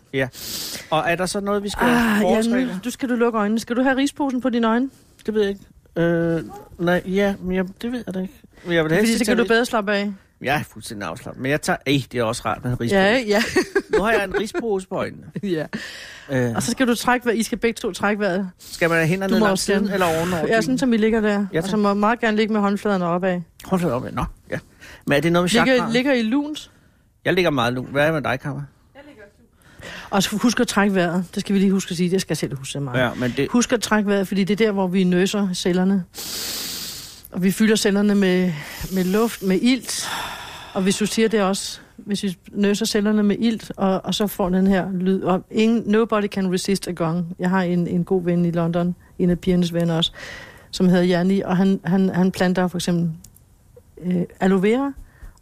S4: Og er der så noget, vi skal
S5: Ah,
S4: ah,
S5: ja,
S4: forestille?
S5: nu, du skal du lukke øjnene. Skal du have risposen på dine øjne?
S4: det ved jeg ikke. Øh, nej, ja, men jeg, det ved jeg da ikke. Men Jeg vil helst
S5: Fordi
S4: ikke
S5: så kan du
S4: tage
S5: bedre slappe af.
S4: ris- Jeg er fuldstændig afslappet, men jeg tager... Ej, det er også rart med en rispose.
S5: Ja,
S4: Ja,
S5: ikke? ja, (laughs)
S4: nu har jeg en rispose på øjnene.
S5: ja.
S4: Øh,
S5: Og så skal du trække vejret. I skal begge to trække vejret.
S4: skal man have hænderne
S5: Du må
S4: ned
S5: også
S4: siden
S5: gerne.
S4: eller ovenover?
S5: Ja, sådan som I ligger der.
S4: Ja,
S5: Ja,
S4: tak.
S5: og så må jeg meget gerne ligge med håndfladerne opad.
S4: Håndflade op, ja. Nå, ja. Men er det noget med
S5: Ligger,
S4: chakra?
S5: ligger I lunt?
S4: Jeg ligger meget lun. Hvad er med dig, Kammer?
S5: Og så husk at trække vejret. Det skal vi lige huske at sige. Det skal jeg selv huske så meget.
S4: Ja, men det...
S5: Husk at trække vejret, fordi det er der, hvor vi nøser cellerne. Og vi fylder cellerne med, med luft, med ilt. Og vi sorterer det også, hvis vi nøser cellerne med ilt, og, og så får den her lyd. Og ingen, nobody can resist a gong. Jeg har en, en god ven i London, en af pigernes venner også, som hedder Janni, og han, han, han planter for eksempel øh, aloe vera,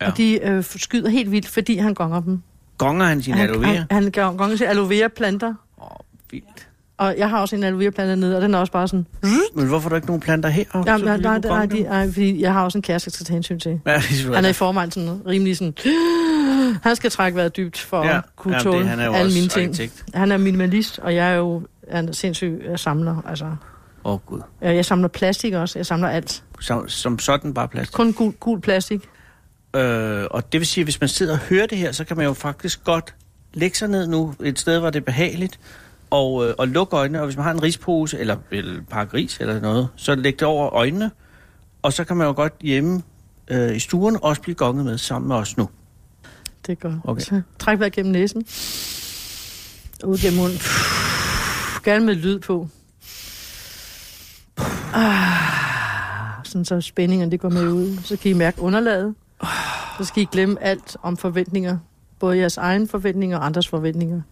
S4: Ja.
S5: ja. og de øh, skyder helt vildt, fordi han gonger dem.
S4: Gonger han sin
S5: han,
S4: aloe vera?
S5: han, han gonger til aloe vera planter,
S4: Åh, vildt.
S5: og jeg har også en aloe vera plante nede, og den er også bare sådan,
S4: Men hvorfor er der ikke nogen planter her?
S5: Ja, nej, nej, nej, nej, nej, fordi jeg har også en kæreste, jeg skal tage hensyn til.
S4: Ja, det er selvfølgelig.
S5: Han er i forvejen sådan rimelig sådan... Han skal trække vejret dybt for
S4: ja.
S5: ja, at kunne
S4: Jamen,
S5: tåle
S4: det, han er jo
S5: alle
S4: også
S5: mine ting.
S4: arkitekt.
S5: Han er minimalist, og jeg er jo er en sindssyg øh, samler. Altså,
S4: Åh, oh, gud.
S5: Øh, jeg samler plastik også. Jeg samler alt.
S4: Som, som sådan bare plads.
S5: Kun gul, gul plastik.
S4: Øh, og det vil sige, at hvis man sidder og hører det her, så kan man jo faktisk godt lægge sig ned nu et sted, hvor det er behageligt, og, øh, og lukke øjnene. Og hvis man har en rispose, eller et par gris eller noget, så læg det over øjnene. Og så kan man jo godt hjemme øh, i stuen også blive gonget med sammen med os nu.
S5: Det er godt.
S4: Okay.
S5: Så træk vejret gennem næsen. Ud gennem munden. Gerne med lyd på. Ah, sådan så spændingerne det går med ud. Så kan I mærke underlaget. Så skal I glemme alt om forventninger. Både jeres egen forventninger og andres forventninger.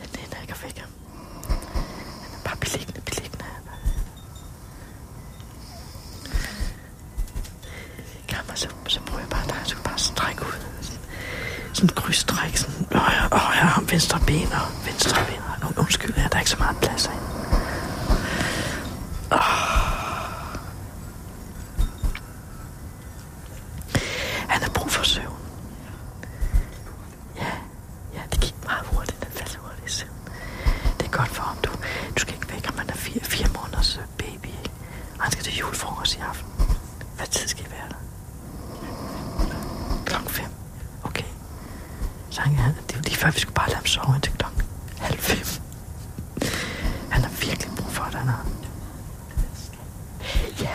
S5: Jeg nænder ikke at vække ham. Han er bare beliggende, beliggende. Kammer, så, så bruger jeg bare dig. Så kan jeg bare strække ud. Sådan, sådan et krydsstræk. Sådan højre, og højre arm, venstre ben og venstre ben. Og nu- undskyld, jeg, der er ikke så meget plads herinde. Ah. Åh. Han har brug for søvn. Ja, det gik meget hurtigt. Den faldt hurtigt i søvn. Det er godt for ham. Du, du skal ikke vække ham. Han er fire, fire måneders øh, baby, ikke? Og han skal til julefrokost i aften. Hvad tid skal I være der? Klokken fem. Okay. Så han, han, det er jo lige før, vi skulle bare lade ham sove indtil klokken halv fem. Han har virkelig brug for det, han har. Ja,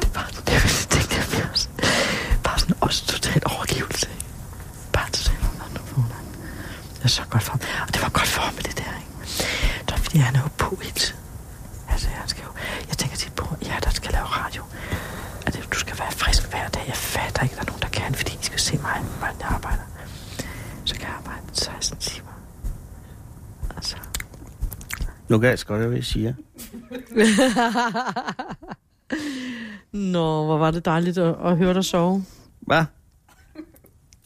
S5: det var det, jeg tænkte, jeg blev også. Bare sådan også total overgivelse. ikke? Bare total overgivelse. Det er så godt for ham. Og det var godt for ham med det der, ikke? Det var, fordi han er jo på hele tiden. Altså, han skal jo... Jeg tænker tit på, ja, der skal lave radio. At det- du skal være frisk hver dag. Jeg fatter ikke, der er nogen, der kan, fordi de skal se mig, hvordan jeg arbejder. Så kan jeg arbejde 16 timer. Altså...
S4: Nu kan jeg sgu godt, høre, hvad I siger.
S5: (laughs) Nå, hvor var det dejligt at, at høre dig sove.
S4: Hvad?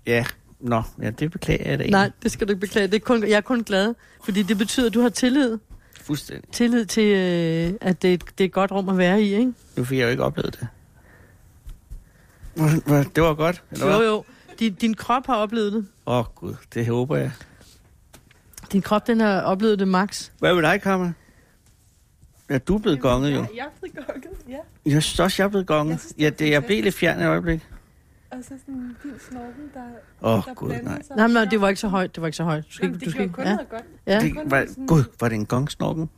S4: Ja, nå, ja, det beklager jeg da
S5: Nej, det skal du ikke beklage. Det er kun, jeg er kun glad, fordi det betyder, at du har tillid.
S4: Fuldstændig.
S5: Tillid til, øh, at det er, et, det er et godt rum at være i, ikke?
S4: Nu fik jeg jo ikke oplevet det. Hvor- hvor- Det var godt, eller hvad?
S5: Jo, jo. Din, din krop har oplevet det.
S4: Åh, oh, Gud, det håber jeg.
S5: Din krop, den har oplevet det max.
S4: Hvad med dig, Kammer? Ja, du er blevet gonget, jo.
S6: Ja, jeg er blevet gokket, ja.
S4: Jeg synes også, jeg er blevet
S6: Jeg
S4: gonget.
S6: synes, det
S4: Ja,
S6: er
S4: det, jeg blev lidt fjern et øjeblik.
S6: Og så sådan en fin snorken, der,
S4: Åh,
S6: der
S4: gud, nej.
S6: sig.
S5: Nej, nej, det var ikke så højt. Det var ikke så højt. Du skal
S6: Jamen,
S5: ikke,
S6: det
S5: du skal
S6: gjorde
S5: ikke.
S6: kun
S5: Ja.
S6: noget godt.
S5: Ja.
S4: Det var, gud, var det en gongsnorken?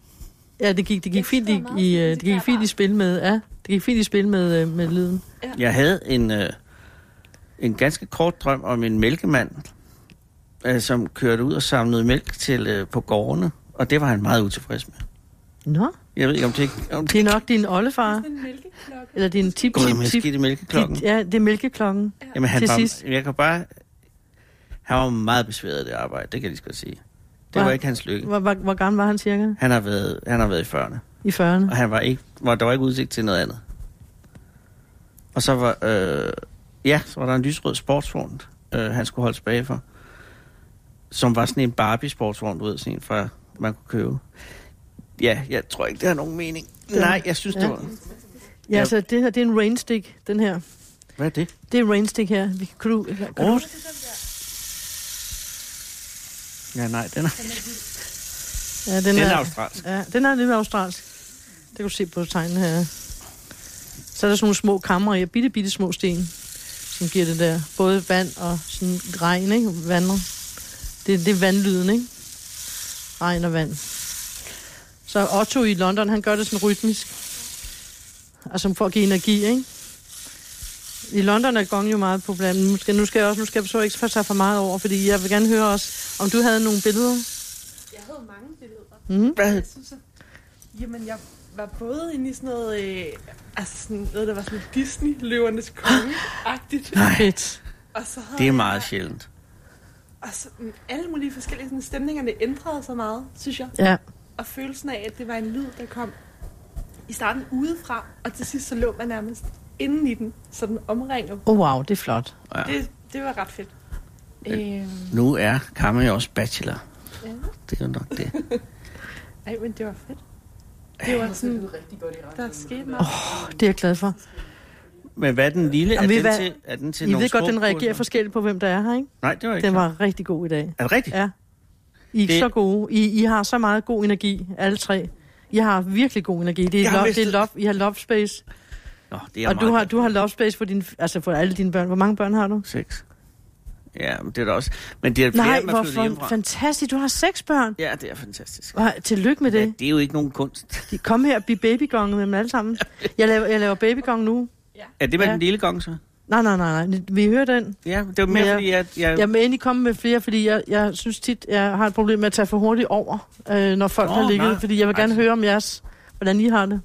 S5: ja, det gik, det gik
S6: Jeg synes,
S5: fint
S6: det
S5: i,
S6: var meget
S5: i øh,
S6: fint,
S5: det
S6: det der
S5: gik fint i
S6: var.
S5: spil med, ja, det gik fint i spil med, øh, med lyden.
S4: Jeg havde en, øh, en ganske kort drøm om en mælkemand, øh, som kørte ud og samlede mælk til øh, på gårdene, og det var han meget utilfreds med.
S5: Nå,
S4: Jeg ved ikke, om det ikke... Om det
S5: det er nok din oldefar,
S6: Sådan en mælkeklokke.
S5: eller din tip,
S4: gud, om jeg
S5: tip, tip.
S4: skidt i mælkeklokken.
S5: Dit- Ja, det er mælkeklokken.
S4: Jamen, han
S5: Til
S4: var,
S5: sidst.
S4: Jeg kan bare... Han var meget besværet af det arbejde, det kan jeg lige så godt sige. Det
S5: Var-
S4: var ikke hans lykke.
S5: Hvor, hvor, hvor gammel var han cirka?
S4: Han har været, han har været i 40'erne.
S5: I 40'erne?
S4: Og han var ikke, var, der var ikke udsigt til noget andet. Og så var, øh, ja, så var der en lysrød sportsvogn, øh, han skulle holde tilbage for. Som var sådan en Barbie-sportsvogn, du ved, sådan en fra, man kunne købe. Ja, jeg tror ikke, det har nogen mening.
S5: Ja.
S4: Nej, jeg synes, ja.
S5: Ja.
S4: det var...
S5: Ja,
S4: Ja.
S5: så det her, det er en rainstick, den her.
S4: Hvad er det?
S5: Det er en rainstick her. Vi kan, kan du, kan du,
S4: Åh. Ja, nej, den er, den
S5: ja, den,
S4: er
S5: er,
S4: australsk.
S5: ja, den er lidt australsk. Det kan du se på tegnene her. Så er der sådan nogle små kammer i, bitte, bitte små sten, som giver det der både vand og sådan regn, ikke? Vandet. Det, det er vandlyden, ikke? Regn og vand. Så Otto i London, han gør det sådan rytmisk. Og som for at give energi, ikke? I London er gong jo meget problem. Nu skal, nu skal jeg også, nu skal jeg så ikke for tage for meget over, fordi jeg vil gerne høre også, om du havde nogle billeder.
S6: Jeg havde mange billeder.
S5: Mm. Mhm.
S4: Hvad?
S6: Jeg synes, at, jamen, jeg var både inde i sådan noget, øh, altså sådan noget, der var sådan Disney-løvernes konge-agtigt.
S5: Fedt.
S6: Og så havde
S4: Ah. Det er
S6: jeg-
S4: meget sjældent.
S6: Og så, mm, alle mulige forskellige sådan, stemningerne ændrede sig meget, synes jeg.
S5: Ja.
S6: Og følelsen af, at det var en lyd, der kom i starten udefra, og til sidst så lå man nærmest inden i den, så den omringede.
S5: Oh, wow, det er flot.
S4: Ja.
S6: Det, det var ret fedt.
S4: Øh.
S6: Øhm,
S4: Nu er Kammer jo også bachelor.
S6: ja.
S4: Det er jo nok det.
S6: Ej, men det var fedt. Det var sådan, der skete meget.
S5: Det er jeg glad for.
S4: Men hvad er den lille?
S5: Jamen, ved
S4: er, den
S5: hvad?
S4: til, er den til
S5: I
S4: nogle
S5: ved godt,
S4: små
S5: den reagerer
S4: kurser?
S5: forskelligt på, hvem der er her, ikke?
S4: Nej, det var ikke
S5: Den
S4: klart.
S5: var rigtig god i dag.
S4: Er det rigtigt?
S5: Ja. I er ikke
S4: Det-
S5: det... så gode. I, I har så meget god energi, alle tre. I har virkelig god energi. Det
S4: Jeg
S5: er
S4: har
S5: love, det
S4: mistet-
S5: er love, I har love space.
S4: Nå, det er
S5: og
S4: meget
S5: du har,
S4: godt.
S5: du har love space for, din, altså for alle dine børn. Hvor mange børn har du?
S4: Seks. Ja, men det er da også... Men det er flere,
S5: Nej,
S4: man
S5: hvor
S4: flytter hjemmefra.
S5: fan- fantastisk. Du har seks børn.
S4: Ja, det er fantastisk.
S5: Hvor- Tillykke med
S4: Ja,
S5: det.
S4: det er jo ikke nogen kunst.
S5: De- Kom her og bliv babygonge med dem alle sammen. Jeg laver, jeg laver babygong nu.
S4: Er det med ja.
S5: Ja.
S4: den lille gong, så?
S5: Nej, nej, nej, nej. Vi hører den.
S4: Ja, det var mere,
S5: Ja.
S4: fordi at jeg...
S5: Jeg må endelig komme med flere, fordi jeg, jeg synes tit, jeg har et problem med at tage for hurtigt over, øh, når folk
S4: Nå,
S5: oh, har ligget.
S4: nej.
S5: Nej. Fordi jeg vil gerne
S4: Altså.
S5: høre om jeres, hvordan I har det.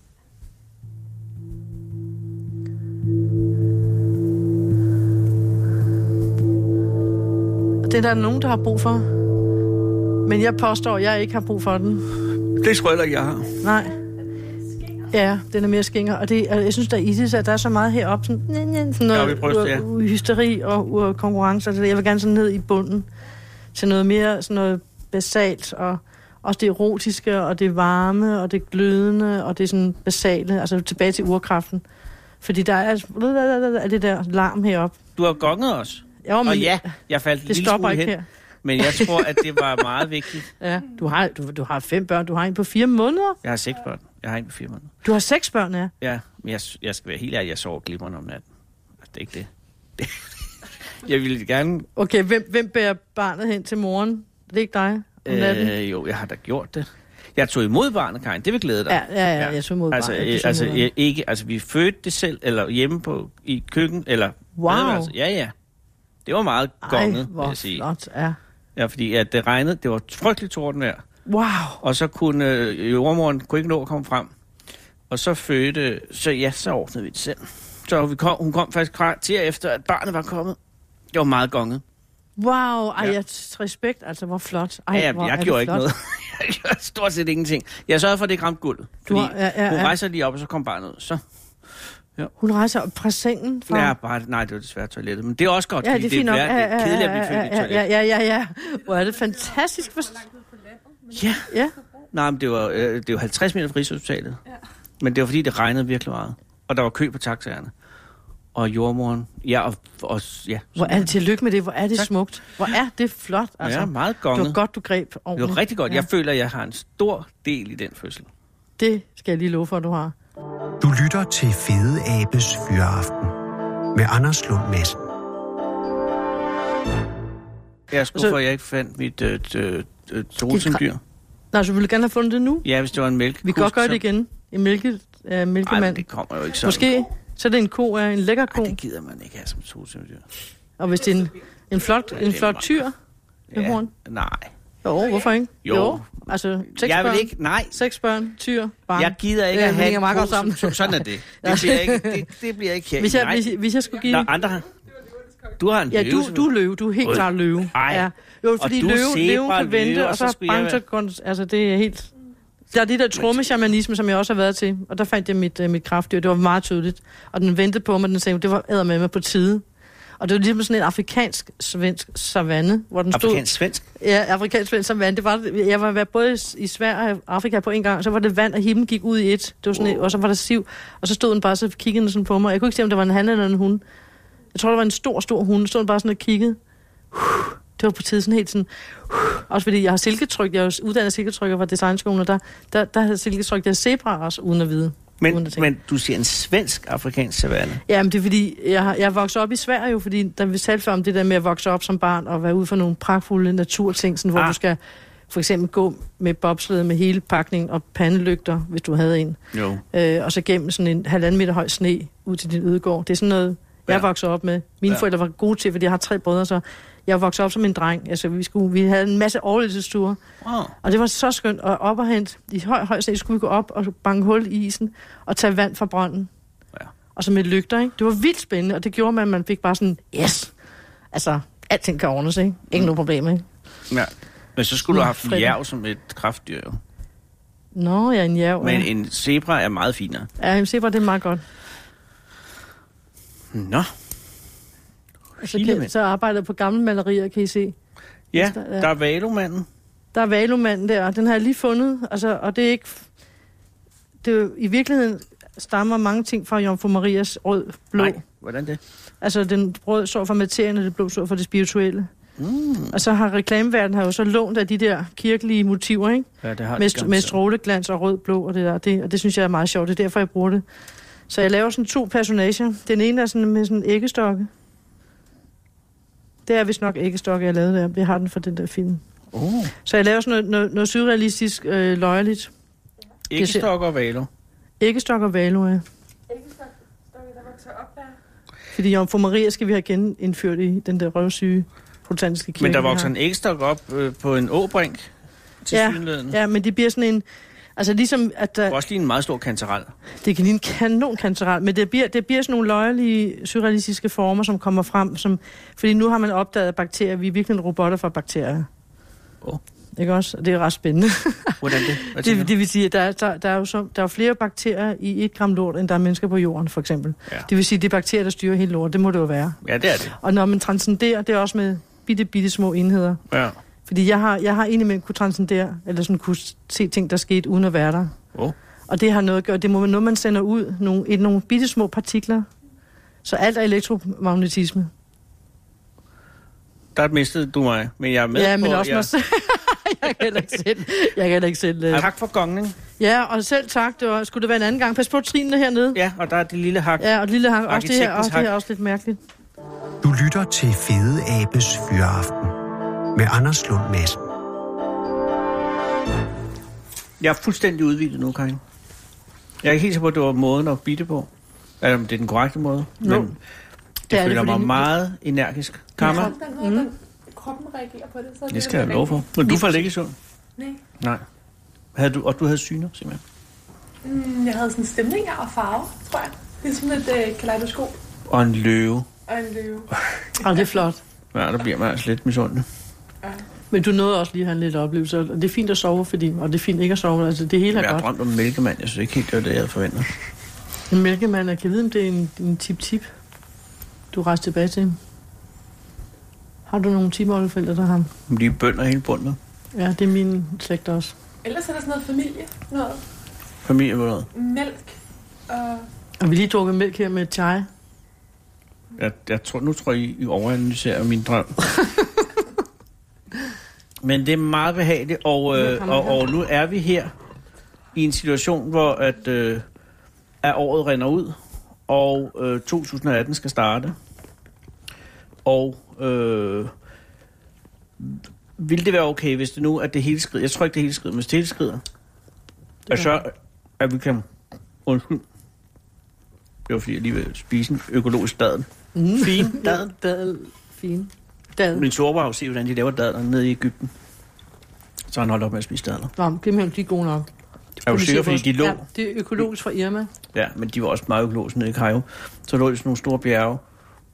S5: Og Det er der nogen, der har brug for. Men jeg påstår, at jeg ikke har brug for den.
S4: Det tror jeg heller ikke, jeg har.
S5: Nej. Ja, den er mere skinger. Og det, og jeg synes, der er Isis, at der er så meget heroppe, sådan, næ, næ, sådan
S4: Ja,
S5: noget
S4: vi bryster, ja.
S5: u- u- hysteri og u- konkurrence. Og det der. jeg vil gerne sådan ned i bunden til noget mere sådan noget basalt, og også det erotiske, og det varme, og det glødende, og det sådan basale, altså tilbage til urkraften. Fordi der er altså, det der larm heroppe.
S4: Du har gonget os.
S5: Jo,
S4: Og ja, jeg faldt en
S5: det
S4: lille
S5: stopper
S4: smule
S5: ikke
S4: hen.
S5: her.
S4: Men
S5: (laughs)
S4: jeg tror, at det var meget vigtigt.
S5: Ja. Du, har, du, du har fem børn, du har en på fire måneder.
S4: Jeg har seks børn. Jeg har en på fire måneder.
S5: Du har seks børn, ja.
S4: Ja, men jeg, jeg skal være helt ærlig, jeg sover glimrende om natten. Altså, det er ikke det. (laughs) det. Jeg ville gerne...
S5: Okay, hvem, hvem bærer barnet hen til moren? Det er ikke dig om natten?
S4: Øh, jo, jeg har da gjort det. Jeg tog imod barnet, Karin. Det vil glæde dig.
S5: ja, ja, ja, jeg så mod
S4: altså,
S5: barnet.
S4: øh,
S5: tog
S4: altså,
S5: mod barnet.
S4: øh, ikke, altså, vi fødte det selv, eller hjemme på, i køkken, eller
S5: Wow.
S4: badeværelset. Ja, ja. Det var meget gonget, altså, vil
S5: hvor
S4: jeg sige.
S5: flot, ja.
S4: Ja, fordi at det regnede, det var frygteligt tordenvejr,
S5: Wow.
S4: og så kunne øh, jordmoren kunne ikke nå at komme frem. Og så fødte, så ja, så ordnede vi det selv. Så vi kom, hun kom faktisk kvarter efter, at barnet var kommet. Det var meget gonget.
S5: Wow, ej,
S4: Ja.
S5: ja. jeg, respekt, altså, hvor flot. Ej,
S4: Ej, ja,
S5: hvor
S4: jeg,
S5: er det
S4: jeg gjorde ikke
S5: flot.
S4: noget. (laughs) jeg gjorde stort set ingenting. Jeg sørgede for, at det ikke ramte gulvet.
S5: Du
S4: Fordi
S5: har- ja, ja,
S4: hun
S5: ja.
S4: rejser lige op, og så kom barnet ud. Så,
S5: Hun rejser op fra sengen. Fra...
S4: ja, bare, nej, det var desværre toilettet. Men det er også godt,
S5: ja,
S4: fordi
S5: det er fint nok.
S4: værd-
S5: Ja,
S4: det er
S5: ja,
S4: kedeligt at
S5: ja,
S4: blive født i
S5: ja,
S4: toilettet.
S5: ja, ja, ja, ja. Hvor er det fantastisk. For...
S4: Ja,
S5: Ja,
S4: nej, men det var, øh, det var 50 meter fra Rigshospitalet. Ja. Men det var, fordi det regnede virkelig meget. Og der var kø på taxaerne. Og jordmoren, ja, og, og ja.
S5: hvor er det tillykke med det. Hvor er det
S4: Tak.
S5: smukt. Hvor er det flot, altså.
S4: Altså, ja, meget
S5: det
S4: gonget.
S5: var godt, du greb
S4: det
S5: ordentligt.
S4: var rigtig godt.
S5: Ja.
S4: Jeg føler, at jeg har en stor del i den fødsel.
S5: Det skal jeg lige love for, at du har.
S3: Du lytter til Fede Abes Fyraften med Anders Lund Madsen.
S4: Jeg er skuffet,
S5: Så-
S4: for, at jeg ikke fandt mit øh, øh, øh, rosendyr.
S5: Nej, så ville du gerne have fundet det nu.
S4: Ja, hvis det var en mælkekost.
S5: Vi kan godt gøre
S4: så-
S5: det igen. En mælke, øh,
S4: Ej, men
S5: mælkemand.
S4: det kommer jo ikke sådan.
S5: Måske så er det en ko er en lækker ko.
S4: Ej, det gider man ikke have som totemdyr.
S5: Og hvis det er en, en flot,
S4: det er
S5: en flot
S4: meget
S5: tyr med horn.
S4: nej.
S5: Jo, hvorfor ikke?
S4: Jo.
S5: Altså, seks
S4: Jeg
S5: børn.
S4: vil ikke, nej.
S5: Seks børn, tyr, barn.
S4: Jeg gider ikke
S5: Ja,
S4: at
S5: det
S4: have
S5: hænger
S4: en
S5: meget
S4: ko
S5: godt sammen.
S4: som- Sådan er det.
S5: Ja.
S4: Det bliver ikke,
S5: (laughs)
S4: det, det bliver ikke her.
S5: hvis, jeg,
S4: nej.
S5: hvis, jeg- hvis jeg skulle give...
S4: Nå, andre har... Du har en
S5: Ja,
S4: løve,
S5: du,
S4: som-
S5: du er løve. Du er helt
S4: Ui.
S5: klart løve.
S4: Ej.
S5: Ja. Jo, fordi
S4: du er
S5: løve,
S4: zebra,
S5: løven kan vente,
S4: løve,
S5: og
S4: og
S5: så,
S4: så
S5: så
S4: skulle jeg
S5: bange, så går- Altså, det er helt... Der er det der trommeshamanisme, som jeg også har været til, og der fandt jeg mit, øh, mit kraftdyr. Det var meget tydeligt. Og den ventede på mig, den sagde, det var æder med mig på tide. Og det var ligesom sådan en afrikansk-svensk savanne, hvor den stod...
S4: Afrikansk svensk.
S5: Ja, afrikansk vand som vand. Det var, jeg var både i Sverige og Afrika på en gang, så var det vand, og himlen gik ud i et. Det var sådan, wow. Og så var der siv, og så stod den bare så kiggede den sådan på mig. Jeg kunne ikke se, om det var en han eller en hund. Jeg tror, det var en stor, stor hund. Stod den bare sådan og kiggede. Huh. Det var på tide sådan helt sådan... huh. Også fordi jeg har silketryk. Jeg er jo uddannet silketrykker fra designskolen, og der, der, der havde silketryk. Der er zebra også, uden at vide. uden
S4: Men,
S5: at tænke.
S4: men du siger en svensk afrikansk savanne.
S5: Ja, men det er fordi, jeg, har- jeg voksede op i Sverige jo, fordi der vi talte før om det der med at vokse op som barn og være ude for nogle pragtfulde naturting, sådan, hvor
S4: Ah.
S5: ah. du skal for eksempel gå med bobslede med hele pakning og pandelygter, hvis du havde en,
S4: Jo.
S5: øh, og så gennem sådan en halvanden meter høj sne ud til din ødegård. Det er sådan noget, jeg
S4: Ja.
S5: ja. voksede op med. Mine
S4: Ja.
S5: ja. forældre var gode til, fordi jeg har tre brødre, så jeg voksede op som en dreng. Altså, vi, skulle, vi havde en masse overlevelsesture,
S4: Wow.
S5: og det var så skønt at op og hente. I høj, høj sne skulle vi gå op og banke hul i isen og tage vand fra brønden.
S4: Ja.
S5: Og så med lygter, ikke? Det var vildt spændende, og det gjorde man, at man fik bare sådan, yes! Altså, alting kan ordnes, ikke? Ikke mm. nogen problem, ikke?
S4: Ja. Men så skulle du have haft en
S5: Fritten.
S4: jærv som et kraftdyr, jo.
S5: Nå, ja, en jav.
S4: Men
S5: ja.
S4: en zebra er meget finere.
S5: Ja, en zebra, det er meget godt.
S4: Nå.
S5: Og Så,
S4: Hilemand.
S5: kan, så arbejder jeg på gamle malerier, kan I se.
S4: Ja,
S5: Ja.
S4: der er valomanden.
S5: Der er valumanden der, og den har jeg lige fundet, altså, og det er ikke... Det er jo, I virkeligheden stammer mange ting fra Jomfru Marias rød blå.
S4: Nej, hvordan det?
S5: Altså, den rød står for materien, og det blå står for det spirituelle. Mm. Og så har reklameverdenen har jo så lånt af de der kirkelige motiver, ikke?
S4: Ja, det har de
S5: Med,
S4: garanteret.
S5: med stråleglans og rød blå og det der. Det, og det synes jeg er meget sjovt. Det er derfor, jeg bruger det. Så jeg laver sådan to personager. Den ene er sådan med sådan en æggestokke. Det er vist nok æggestokke, jeg lavede der. Jeg har den fra den der film.
S4: Oh.
S5: Så jeg laver sådan noget, noget, noget surrealistisk øh, løjeligt.
S4: Ikke stokker og valer.
S5: Æggestok og valo, ja. Fordi Jomfru Maria skal vi have genindført i den der røvsyge protestantiske kirke.
S4: Men der
S5: vi
S4: vokser
S5: har.
S4: en ægstok op øh, på en åbrink til ja.
S5: Ja,
S4: synligheden. Ja.
S5: Ja, men det bliver sådan en... Altså ligesom, at der,
S4: Også lige en meget stor kantarel.
S5: det kan ligne en kanon kanceral, men det bliver, det bliver sådan nogle løjelige, surrealistiske former, som kommer frem. Som, fordi nu har man opdaget at bakterier. Vi er virkelig en robotter for bakterier.
S4: Åh.
S5: Ikke også? Og det er ret spændende.
S4: Hvordan det? Hvad tænker
S5: Det,
S4: du?
S5: det vil sige, at der, er- der, der, er jo så, der er jo flere bakterier i et gram lort, end der er mennesker på jorden, for eksempel.
S4: Ja.
S5: Det vil sige, at det er bakterier, der styrer hele lort. Det må det jo være.
S4: Ja, det er det.
S5: Og når man transcenderer, det er også med bitte, bitte små enheder.
S4: Ja.
S5: Fordi jeg har, jeg har indimellem kunne transcendere, eller sådan kunne se ting, der skete uden at være der.
S4: Oh.
S5: Og det har noget at gøre, det må man, noget, man sender ud, nogle, et, nogle bitte små partikler. Så alt er elektromagnetisme.
S4: Der mistede du mig, men jeg er med
S5: ja,
S4: på...
S5: men også
S4: ja.
S5: mig selv. (laughs) jeg kan heller ikke selv. Jeg kan heller ikke selv. øh.
S4: Hak for gongen.
S5: Ja, og selv tak. Det var, skulle det være en anden gang. Pas på trinene hernede.
S4: Ja, og der er det lille hak.
S5: Ja, og et lille hang. Også det her,
S4: Arkitektens
S5: også, det her
S4: hak.
S5: er også lidt mærkeligt.
S3: Du lytter til Fede Abes Fyraften med Anders Lund Madsen.
S4: Jeg er fuldstændig udvildet nu, Karin. Jeg er ikke helt sikker på, at det var måden at bitte på. Eller om det er den korrekte måde.
S5: Jo.
S4: Men det,
S5: Det er det,
S4: føler mig
S5: fordi-
S4: meget energisk. Kammer,
S6: Kroppen, der noget, der, kroppen reagerer på det. Så er
S4: Mm. det skal jeg love for. Men du faldt ikke i søvn?
S6: Nej.
S4: Nej. Havde du, og du havde syner, simpelthen?
S6: Mm, jeg havde sådan stemninger og farve, tror jeg. Ligesom et øh, kaleidoskop
S4: Og en løve.
S6: og en løve.
S5: Og det er flot.
S4: Ja, der bliver man altså lidt misundelig.
S5: Men du nåede også lige at have en lidt oplevelse, og det er fint at sove, fordi, og det er fint ikke at sove, altså det hele
S4: Jeg
S5: er
S4: har
S5: godt.
S4: drømt om en mælkemand. Jeg synes ikke helt, det var det, jeg havde forventet.
S5: En mælkemand, jeg kan vide, om det er en, en tip-tip, du rejser tilbage til. ham. Har du nogle tipoldeforældre, der har ham?
S4: Men De er bønder hele bundet.
S5: Ja, det er min slægt også.
S6: Ellers er der sådan noget familie, noget
S4: Familie på noget.
S6: mælk og
S5: Og vi lige drukket mælk her med chai.
S4: Jeg, jeg tror, nu tror jeg, I overanalyserer min (laughs) drøm. Men det er meget behageligt, og, øh, og, og nu er vi her i en situation, hvor at, øh, at året render ud, og øh, 2018 skal starte. Og øh, ville det være okay, hvis det nu er det hele skridt? Jeg tror ikke, det hele skridt, men hvis det hele skrider, at så er vi kan... Undskyld. Det var fordi, jeg lige ved spise en økologisk dadel.
S5: Mm. (laughs)
S4: Fin dadel.
S5: Dadel. Fin. Dadel.
S4: Min torber har jo set, hvordan de laver dadler nede i Ægypten. Så han holdt op med at spise dadler.
S5: Nå, det er de er gode nok.
S4: Er du sikker, fordi de lå?
S5: Ja, det er økologisk fra Irma.
S4: Ja, men de var også meget økologiske nede i Kajo. Så lå de sådan nogle store bjerge,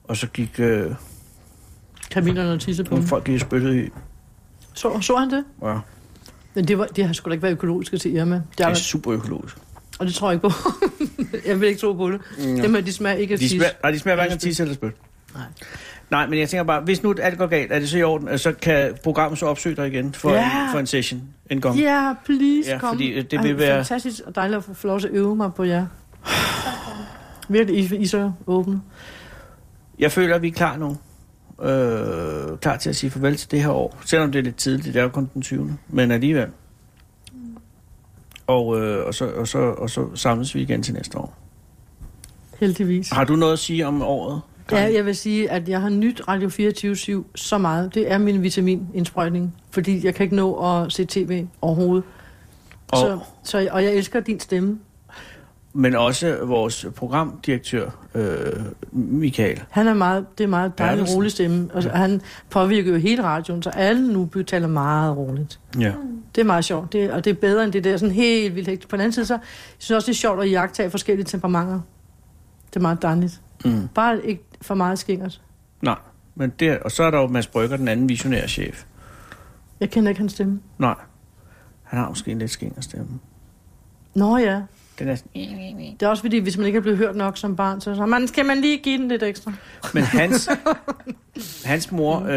S4: og så gik
S5: Mm.
S4: øh,
S5: Kamillerne og tisse på dem.
S4: nogle folk i spyttet i.
S5: Så, så han det?
S4: Ja,
S5: Men det, var, det har sgu da ikke været økologiske til Irma. Det
S4: det
S5: har,
S4: er super økologisk.
S5: og det tror jeg ikke på. (laughs) jeg vil ikke tro på det. Mm. Dem her, de smager ikke af
S4: De
S5: tisse.
S4: smager, nej, de smager hverken af tisse eller spyt.
S5: Nej.
S4: Nej, men jeg tænker bare, hvis nu alt går galt, er det så i orden, at så kan programmet så opsøge dig igen for, ja.
S5: Ja.
S4: en, for en session en gang.
S5: Ja, please
S4: Ja,
S5: kom.
S4: fordi, øh, det vil være-
S5: fantastisk og dejligt at få- få lov til at øve mig på jer. Virkelig, I, I er så åbne.
S4: Jeg føler, at vi er klar nu. Øh, klar til at sige farvel til det her år. Selvom det er lidt tidligt, det er jo kun den 20. Men alligevel. Og, øh, og, så, og, så, og så samles vi igen til næste år.
S5: Heldigvis.
S4: Har du noget at sige om året?
S5: Ja,
S4: Karen?
S5: jeg vil sige, at jeg har nyt Radio 24 så meget. Det er min vitaminindsprøjtning, fordi jeg kan ikke nå at se tv overhovedet.
S4: Og-
S5: Så, så, og jeg elsker din stemme.
S4: Men også vores programdirektør, øh, Michael.
S5: Han er meget, det er meget dejlig,
S4: Bertelsen.
S5: rolig stemme. Og så, han påvirker jo hele radioen, så alle nu taler meget roligt.
S4: Ja.
S5: Det er meget sjovt, det, og det er bedre end det der sådan helt vildt hektisk. På den anden side, så jeg synes jeg også, det er sjovt at jagtage forskellige temperamenter. Det er meget dejligt.
S4: Mm.
S5: Bare ikke for meget skingert.
S4: Nej. Men der, og så er der jo Mads Brygger, den anden visionære chef.
S5: Jeg kender ikke hans stemme.
S4: Nej. Han har måske en lidt skænger stemme.
S5: Nå ja,
S4: Den er sådan-
S5: det er også fordi, hvis man ikke er blevet hørt nok som barn, så, så man, skal man lige give den lidt ekstra.
S4: Men hans, hans mor øh,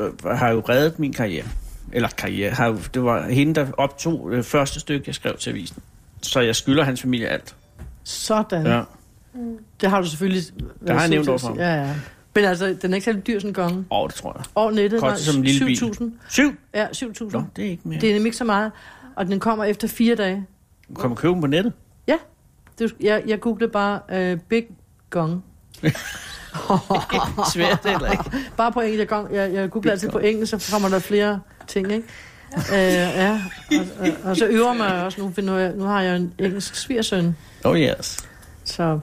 S4: øh, har jo reddet min karriere. Eller karriere. øh, Har jo, det var hende, der optog det første stykke, jeg skrev til avisen. Så jeg skylder hans familie alt.
S5: Sådan.
S4: Ja.
S5: Det har du selvfølgelig...
S4: jeg
S5: været sød
S4: nævnt
S5: til at
S4: overfor ham.
S5: sige. Ja, ja. Men altså, den er ikke særlig dyr sådan en konge.
S4: Åh, oh, det tror jeg.
S5: Over nettet
S4: Koster
S5: var
S4: som en lille bil.
S5: 7.000.
S4: Syv?
S5: Ja,
S4: Nå,
S5: 7.000.
S4: det er ikke mere.
S5: Det er nemlig ikke så meget. Og den kommer efter fire dage.
S4: Du kommer og købe dem på nettet.
S5: Ja. Det, jeg, jeg googlede bare øh, Big Gong.
S4: (laughs) Svært eller ikke?
S5: Bare på engelsk. Jeg, gong, jeg, jeg googler altid på engelsk, så kommer der flere ting, ikke? Øh, ja, og, og, og, så øver mig også nu, for nu, er jeg- nu har jeg en engelsk svigersøn,
S4: Oh yes.
S5: så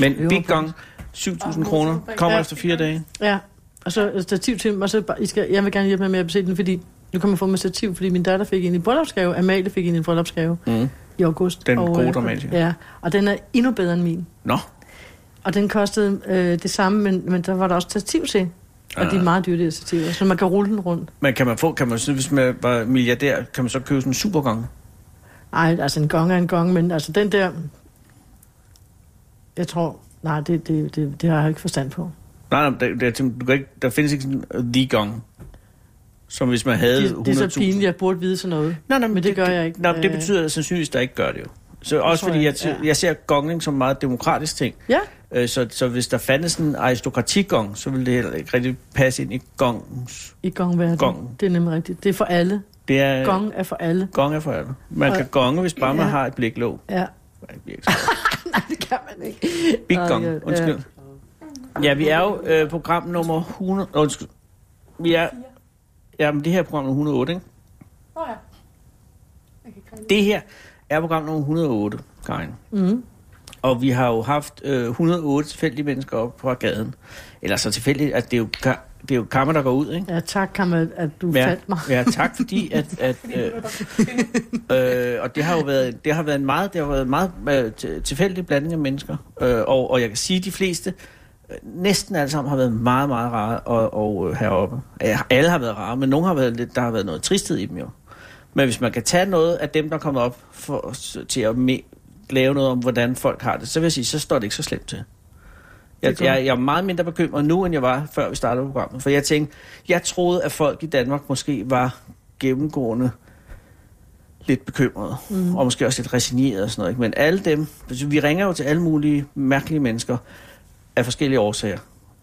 S4: Men Big
S5: Øverpris.
S4: Gong, 7.000 kroner, kommer
S5: Ja.
S4: efter fire dage.
S5: ja. Og så et stativ til mig, så bare, I skal, jeg vil gerne hjælpe mig med at bestille den, fordi nu kan man få med stativ, fordi min datter fik en i bryllupsgave, Amalie fik en i bryllupsgave
S4: Mm.
S5: i august.
S4: Den gode
S5: øh,
S4: dramatiker.
S5: Ja, og den er endnu bedre end min.
S4: Nå,
S5: Og den kostede øh, det samme, men, men der var der også stativ til. Og
S4: Ah.
S5: de er meget dyre, de her stativer, så man kan rulle den rundt.
S4: men kan man få, kan man, så hvis man var milliardær, kan man så købe sådan en supergong?
S5: Ej, altså en gong er en gong, men altså den der... Jeg tror... Nej, det, det, det, det har jeg ikke forstand på.
S4: Nej, nej, der, der, du kan ikke, der findes ikke sådan øh, the gong. Som hvis man havde
S5: Det, det er så
S4: 100.000.
S5: pinligt, jeg burde vide sådan noget.
S4: Nej, nej,
S5: Men det gør jeg ikke.
S4: Nej, men det
S5: Øh.
S4: betyder sandsynligvis, der ikke gør det jo. Så også
S5: tror
S4: fordi,
S5: jeg
S4: jeg,
S5: ikke,
S4: jeg,
S5: ja.
S4: jeg ser gongning som en meget demokratisk ting.
S5: Ja,
S4: Øh, Så, så hvis der fandtes en aristokratigong, så ville det heller ikke rigtig passe ind i gongens.
S5: i gongverden.
S4: Gong.
S5: Det er nemlig rigtigt. Det er for alle.
S4: Det er,
S5: Gong er for alle.
S4: gong er for alle. Man
S5: Og-
S4: kan gonge, hvis bare man
S5: Ja.
S4: har et bliklåg.
S5: Ja,
S4: Ej, det virker så
S5: nej, det kan man ikke.
S4: Big
S5: Nå,
S4: Gong,
S5: ja, ja.
S4: undskyld. Ja, vi er jo øh, program nummer 100... Undskyld. Vi er... Ja, men det her er program nummer 108, ikke?
S6: Nå ja. Jeg kan ikke
S4: Det her er program nummer 108, Karin.
S5: Mm.
S4: Og vi har jo haft øh, 108 tilfældige mennesker op på gaden. Eller så tilfældigt, at det er jo, ka- det er jo kammer, der går ud, ikke?
S5: Ja, tak, Kamma, at du ja.
S4: Ja,
S5: fandt mig.
S4: ja, tak
S5: (laughs)
S4: fordi at, at øh, øh, og det har jo været det har været en meget det har været en meget øh, til- tilfældig blanding af mennesker øh, og, og jeg kan sige at de fleste øh, næsten alle sammen har været meget meget rare og, og øh, heroppe ja, alle har været rare men nogle har været lidt der har været noget tristhed i dem jo men hvis man kan tage noget af dem der kommer op for, s- til at me, lave noget om hvordan folk har det så vil jeg sige så står det ikke så slemt til jeg,
S5: Det er godt.
S4: jeg, jeg er meget mindre bekymret nu, end jeg var, før vi startede programmet. For jeg tænkte, jeg troede, at folk i Danmark måske var gennemgående lidt bekymrede,
S5: Mhm.
S4: mm. og måske også lidt resigneret og sådan noget. Ikke? Men alle dem, altså, vi ringer jo til alle mulige mærkelige mennesker af forskellige årsager.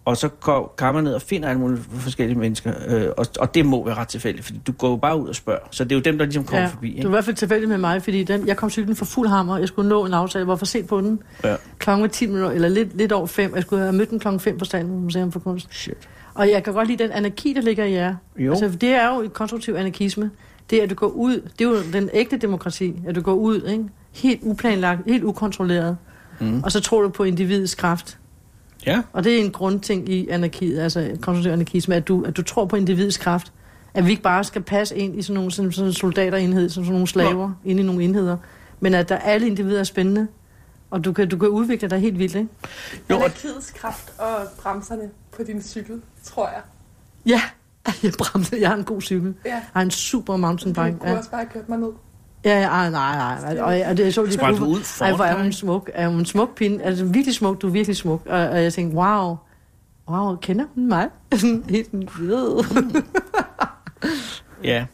S4: Og så går- kommer man ned og finder alle mulige forskellige mennesker, øh, og, og det må være ret tilfældigt, fordi du går jo bare ud og spørger. Så det er jo dem, der ligesom kommer
S5: Ja,
S4: forbi.
S5: det var i
S4: Ikke?
S5: hvert fald tilfældigt med mig, fordi den, jeg kom cyklen for fuld hammer, jeg skulle nå en aftale, jeg var for sent på den.
S4: Ja.
S5: Klokken var 10 minutter, eller lidt, lidt over 5, jeg skulle have mødt den klokken 5 på Statens Museum for Kunst.
S4: Shit.
S5: Og jeg kan godt lide den anarki, der ligger i jer.
S4: Jo.
S5: Altså, det er jo et konstruktiv anarkisme. Det er, at du går ud, det er jo den ægte demokrati, at du går ud, ikke? helt uplanlagt, helt ukontrolleret,
S4: Mm.
S5: og så tror du på individets kraft.
S4: Ja.
S5: Og det er en grundting i anarkiet, altså konstruktiv anarkisme, at du, at du tror på individets kraft. At vi ikke bare skal passe ind i sådan nogle sådan, sådan en soldaterenhed, som sådan nogle slaver, ind i nogle enheder, men at der alle individer er spændende, og du kan, du kan udvikle dig helt vildt, ikke?
S4: Jo, og,
S6: Anarkiets kraft og bremserne på din cykel, tror jeg.
S5: Ja, (laughs) jeg bremser, jeg har en god cykel.
S6: Ja.
S5: Jeg har en super mountainbike.
S6: Du kunne også bare have kørt mig ned.
S5: Ja, ja, ej, nej, nej, nej. Og, jeg- og det jeg så lige
S4: Sprang du
S5: Uber-
S4: ud foran
S5: Ej, hvor er hun
S4: dig?
S5: smuk. Er hun smuk pinde? Altså, virkelig smuk. Du er virkelig smuk. Og, og jeg tænkte, wow. Wow, kender hun mig? (laughs) Sådan Helt sådan, ved.
S4: Ja,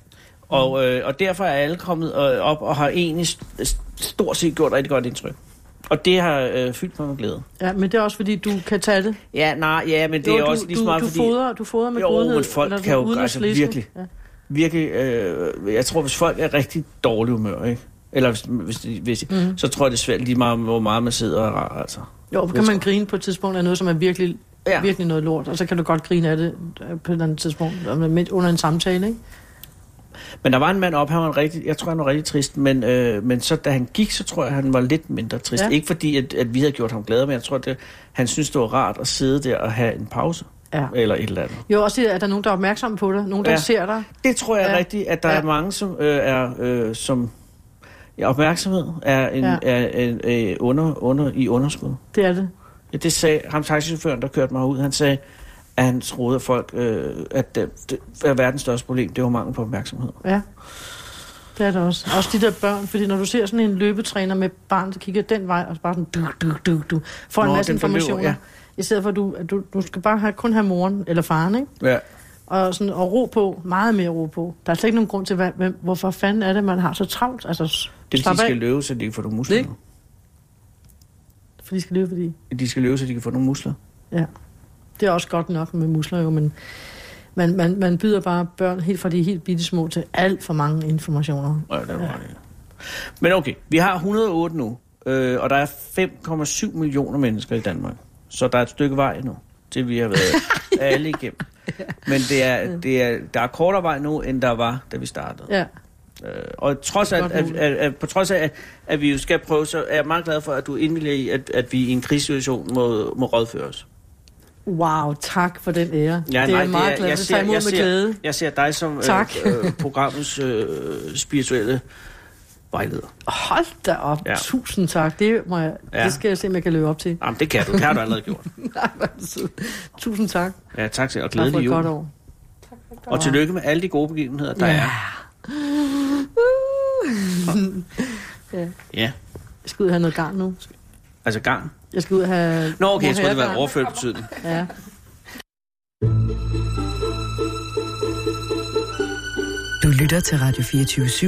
S4: og, øh, og derfor er alle kommet øh, op og har egentlig st- st- stort set gjort rigtig godt indtryk. Og det har øh, fyldt mig med glæde.
S5: Ja, men det er også fordi, du kan tage det.
S4: Ja, nej, ja, men det
S5: Jo,
S4: er
S5: du,
S4: også lige så
S5: du,
S4: meget,
S5: du
S4: fordi
S5: Fodrer, du fodrer med
S4: Jo,
S5: godhed.
S4: men folk
S5: når du
S4: kan jo
S5: er ude at
S4: altså
S5: slæske.
S4: virkelig.
S5: Ja.
S4: virkelig, øh, jeg tror, hvis folk er rigtig dårlig humør, ikke? Eller hvis, hvis, de- hvis mm. så tror jeg, det er svært lige meget, hvor meget man sidder og er rar, altså.
S5: Jo, kan man grine på et tidspunkt af noget, som er virkelig,
S4: Ja.
S5: ja. virkelig noget lort, og så kan du godt grine af det øh, på et eller andet tidspunkt, og midt under en samtale, ikke?
S4: Men der var en mand op, han var en rigtig, jeg tror, han var rigtig trist, men, øh, men så, da han gik, så tror jeg, han var lidt mindre trist. Ja.
S5: Ja.
S4: Ikke fordi, at, at, vi havde gjort ham glad, men jeg tror, at han synes, det var rart at sidde der og have en pause,
S5: Ja.
S4: eller et eller andet.
S5: Jo, også det, at der er nogen, der er opmærksomme på dig, nogen, der
S4: Ja.
S5: ja. ser dig.
S4: Det tror jeg ja.
S5: Ja.
S4: rigtigt, at der ja.
S5: Ja.
S4: er mange, som øh, er øh, som ja, opmærksomhed er, en, ja.
S5: Ja.
S4: er en, øh, under, under, i underskud.
S5: Det er det.
S4: Ja, det sagde ham taxichaufføren, der kørte mig ud. Han sagde, at han troede, at folk, øh, at det, det, at verdens største problem, det var mangel på opmærksomhed.
S5: Ja, det er det også. Også de der børn, fordi når du ser sådan en løbetræner med et barn, der kigger den vej, og så bare sådan, du, du, du, du, får en
S4: Nå,
S5: masse
S4: den forløber,
S5: informationer.
S4: ja.
S5: Ja. I stedet for, at du, at du, du skal bare have, kun have moren eller faren, ikke?
S4: Ja.
S5: Og, sådan, og ro på, meget mere ro på. Der er slet ikke nogen grund til, hvad, hvem, hvorfor fanden er det, man har så travlt? Altså,
S4: Det er, fordi,
S5: slap
S4: de skal
S5: af.
S4: løbe, så de kan få nogle muskler.
S5: Ikke? for de skal leve, fordi
S4: De skal løbe, så de kan få nogle musler.
S5: det er også godt nok med musler jo, men man, man, man byder bare børn helt fra de helt bitte små til alt for mange informationer.
S4: Ja, det er ja. Men okay, vi har 108 nu, øh, og der er 5,7 millioner mennesker i Danmark. Så der er et stykke vej nu, til vi har været
S5: (laughs)
S4: alle igennem. Men det er, det er, der er kortere vej nu, end der var, da vi startede.
S5: Ja,
S4: Øh, og trods at,
S5: Godt
S4: at,
S5: muligt.
S4: at, at, på trods af, at, at vi jo skal prøve, så er jeg meget glad for, at du indvilliger i, at, at vi i en krigssituation må, må rådføres.
S5: wow, tak for den ære.
S4: Ja,
S5: det er
S4: nej,
S5: jeg meget
S4: er-
S5: glad
S4: jeg
S5: at
S4: ser-
S5: tage imod
S4: jeg
S5: med
S4: ser-
S5: glæde.
S4: Jeg ser dig som
S5: Tak.
S4: Øh, øh, programmets øh, spirituelle vejleder.
S5: Hold da op,
S4: Ja.
S5: ja. tusind tak. Det, må jeg,
S4: Ja.
S5: ja. det skal jeg se, om jeg kan løbe op til. (laughs)
S4: Jamen, det kan du. Det har du allerede gjort.
S5: Nej, hvor er det sødt. tusind tak.
S4: Ja, tak til og
S5: Tak for
S4: glædelig
S5: et
S4: jul.
S5: godt år.
S6: Tak for
S4: Og tillykke med alle de gode begivenheder, der
S5: Ja.
S4: er.
S5: (laughs) ja.
S4: Ja,
S5: Jeg skal ud og have noget garn nu.
S4: altså gang.
S5: Jeg skal ud og have...
S4: Nå, okay, jeg troede, det var en
S5: mohairgarn.
S4: overført betydning.
S5: Ja.
S1: Du lytter til Radio 24 /7.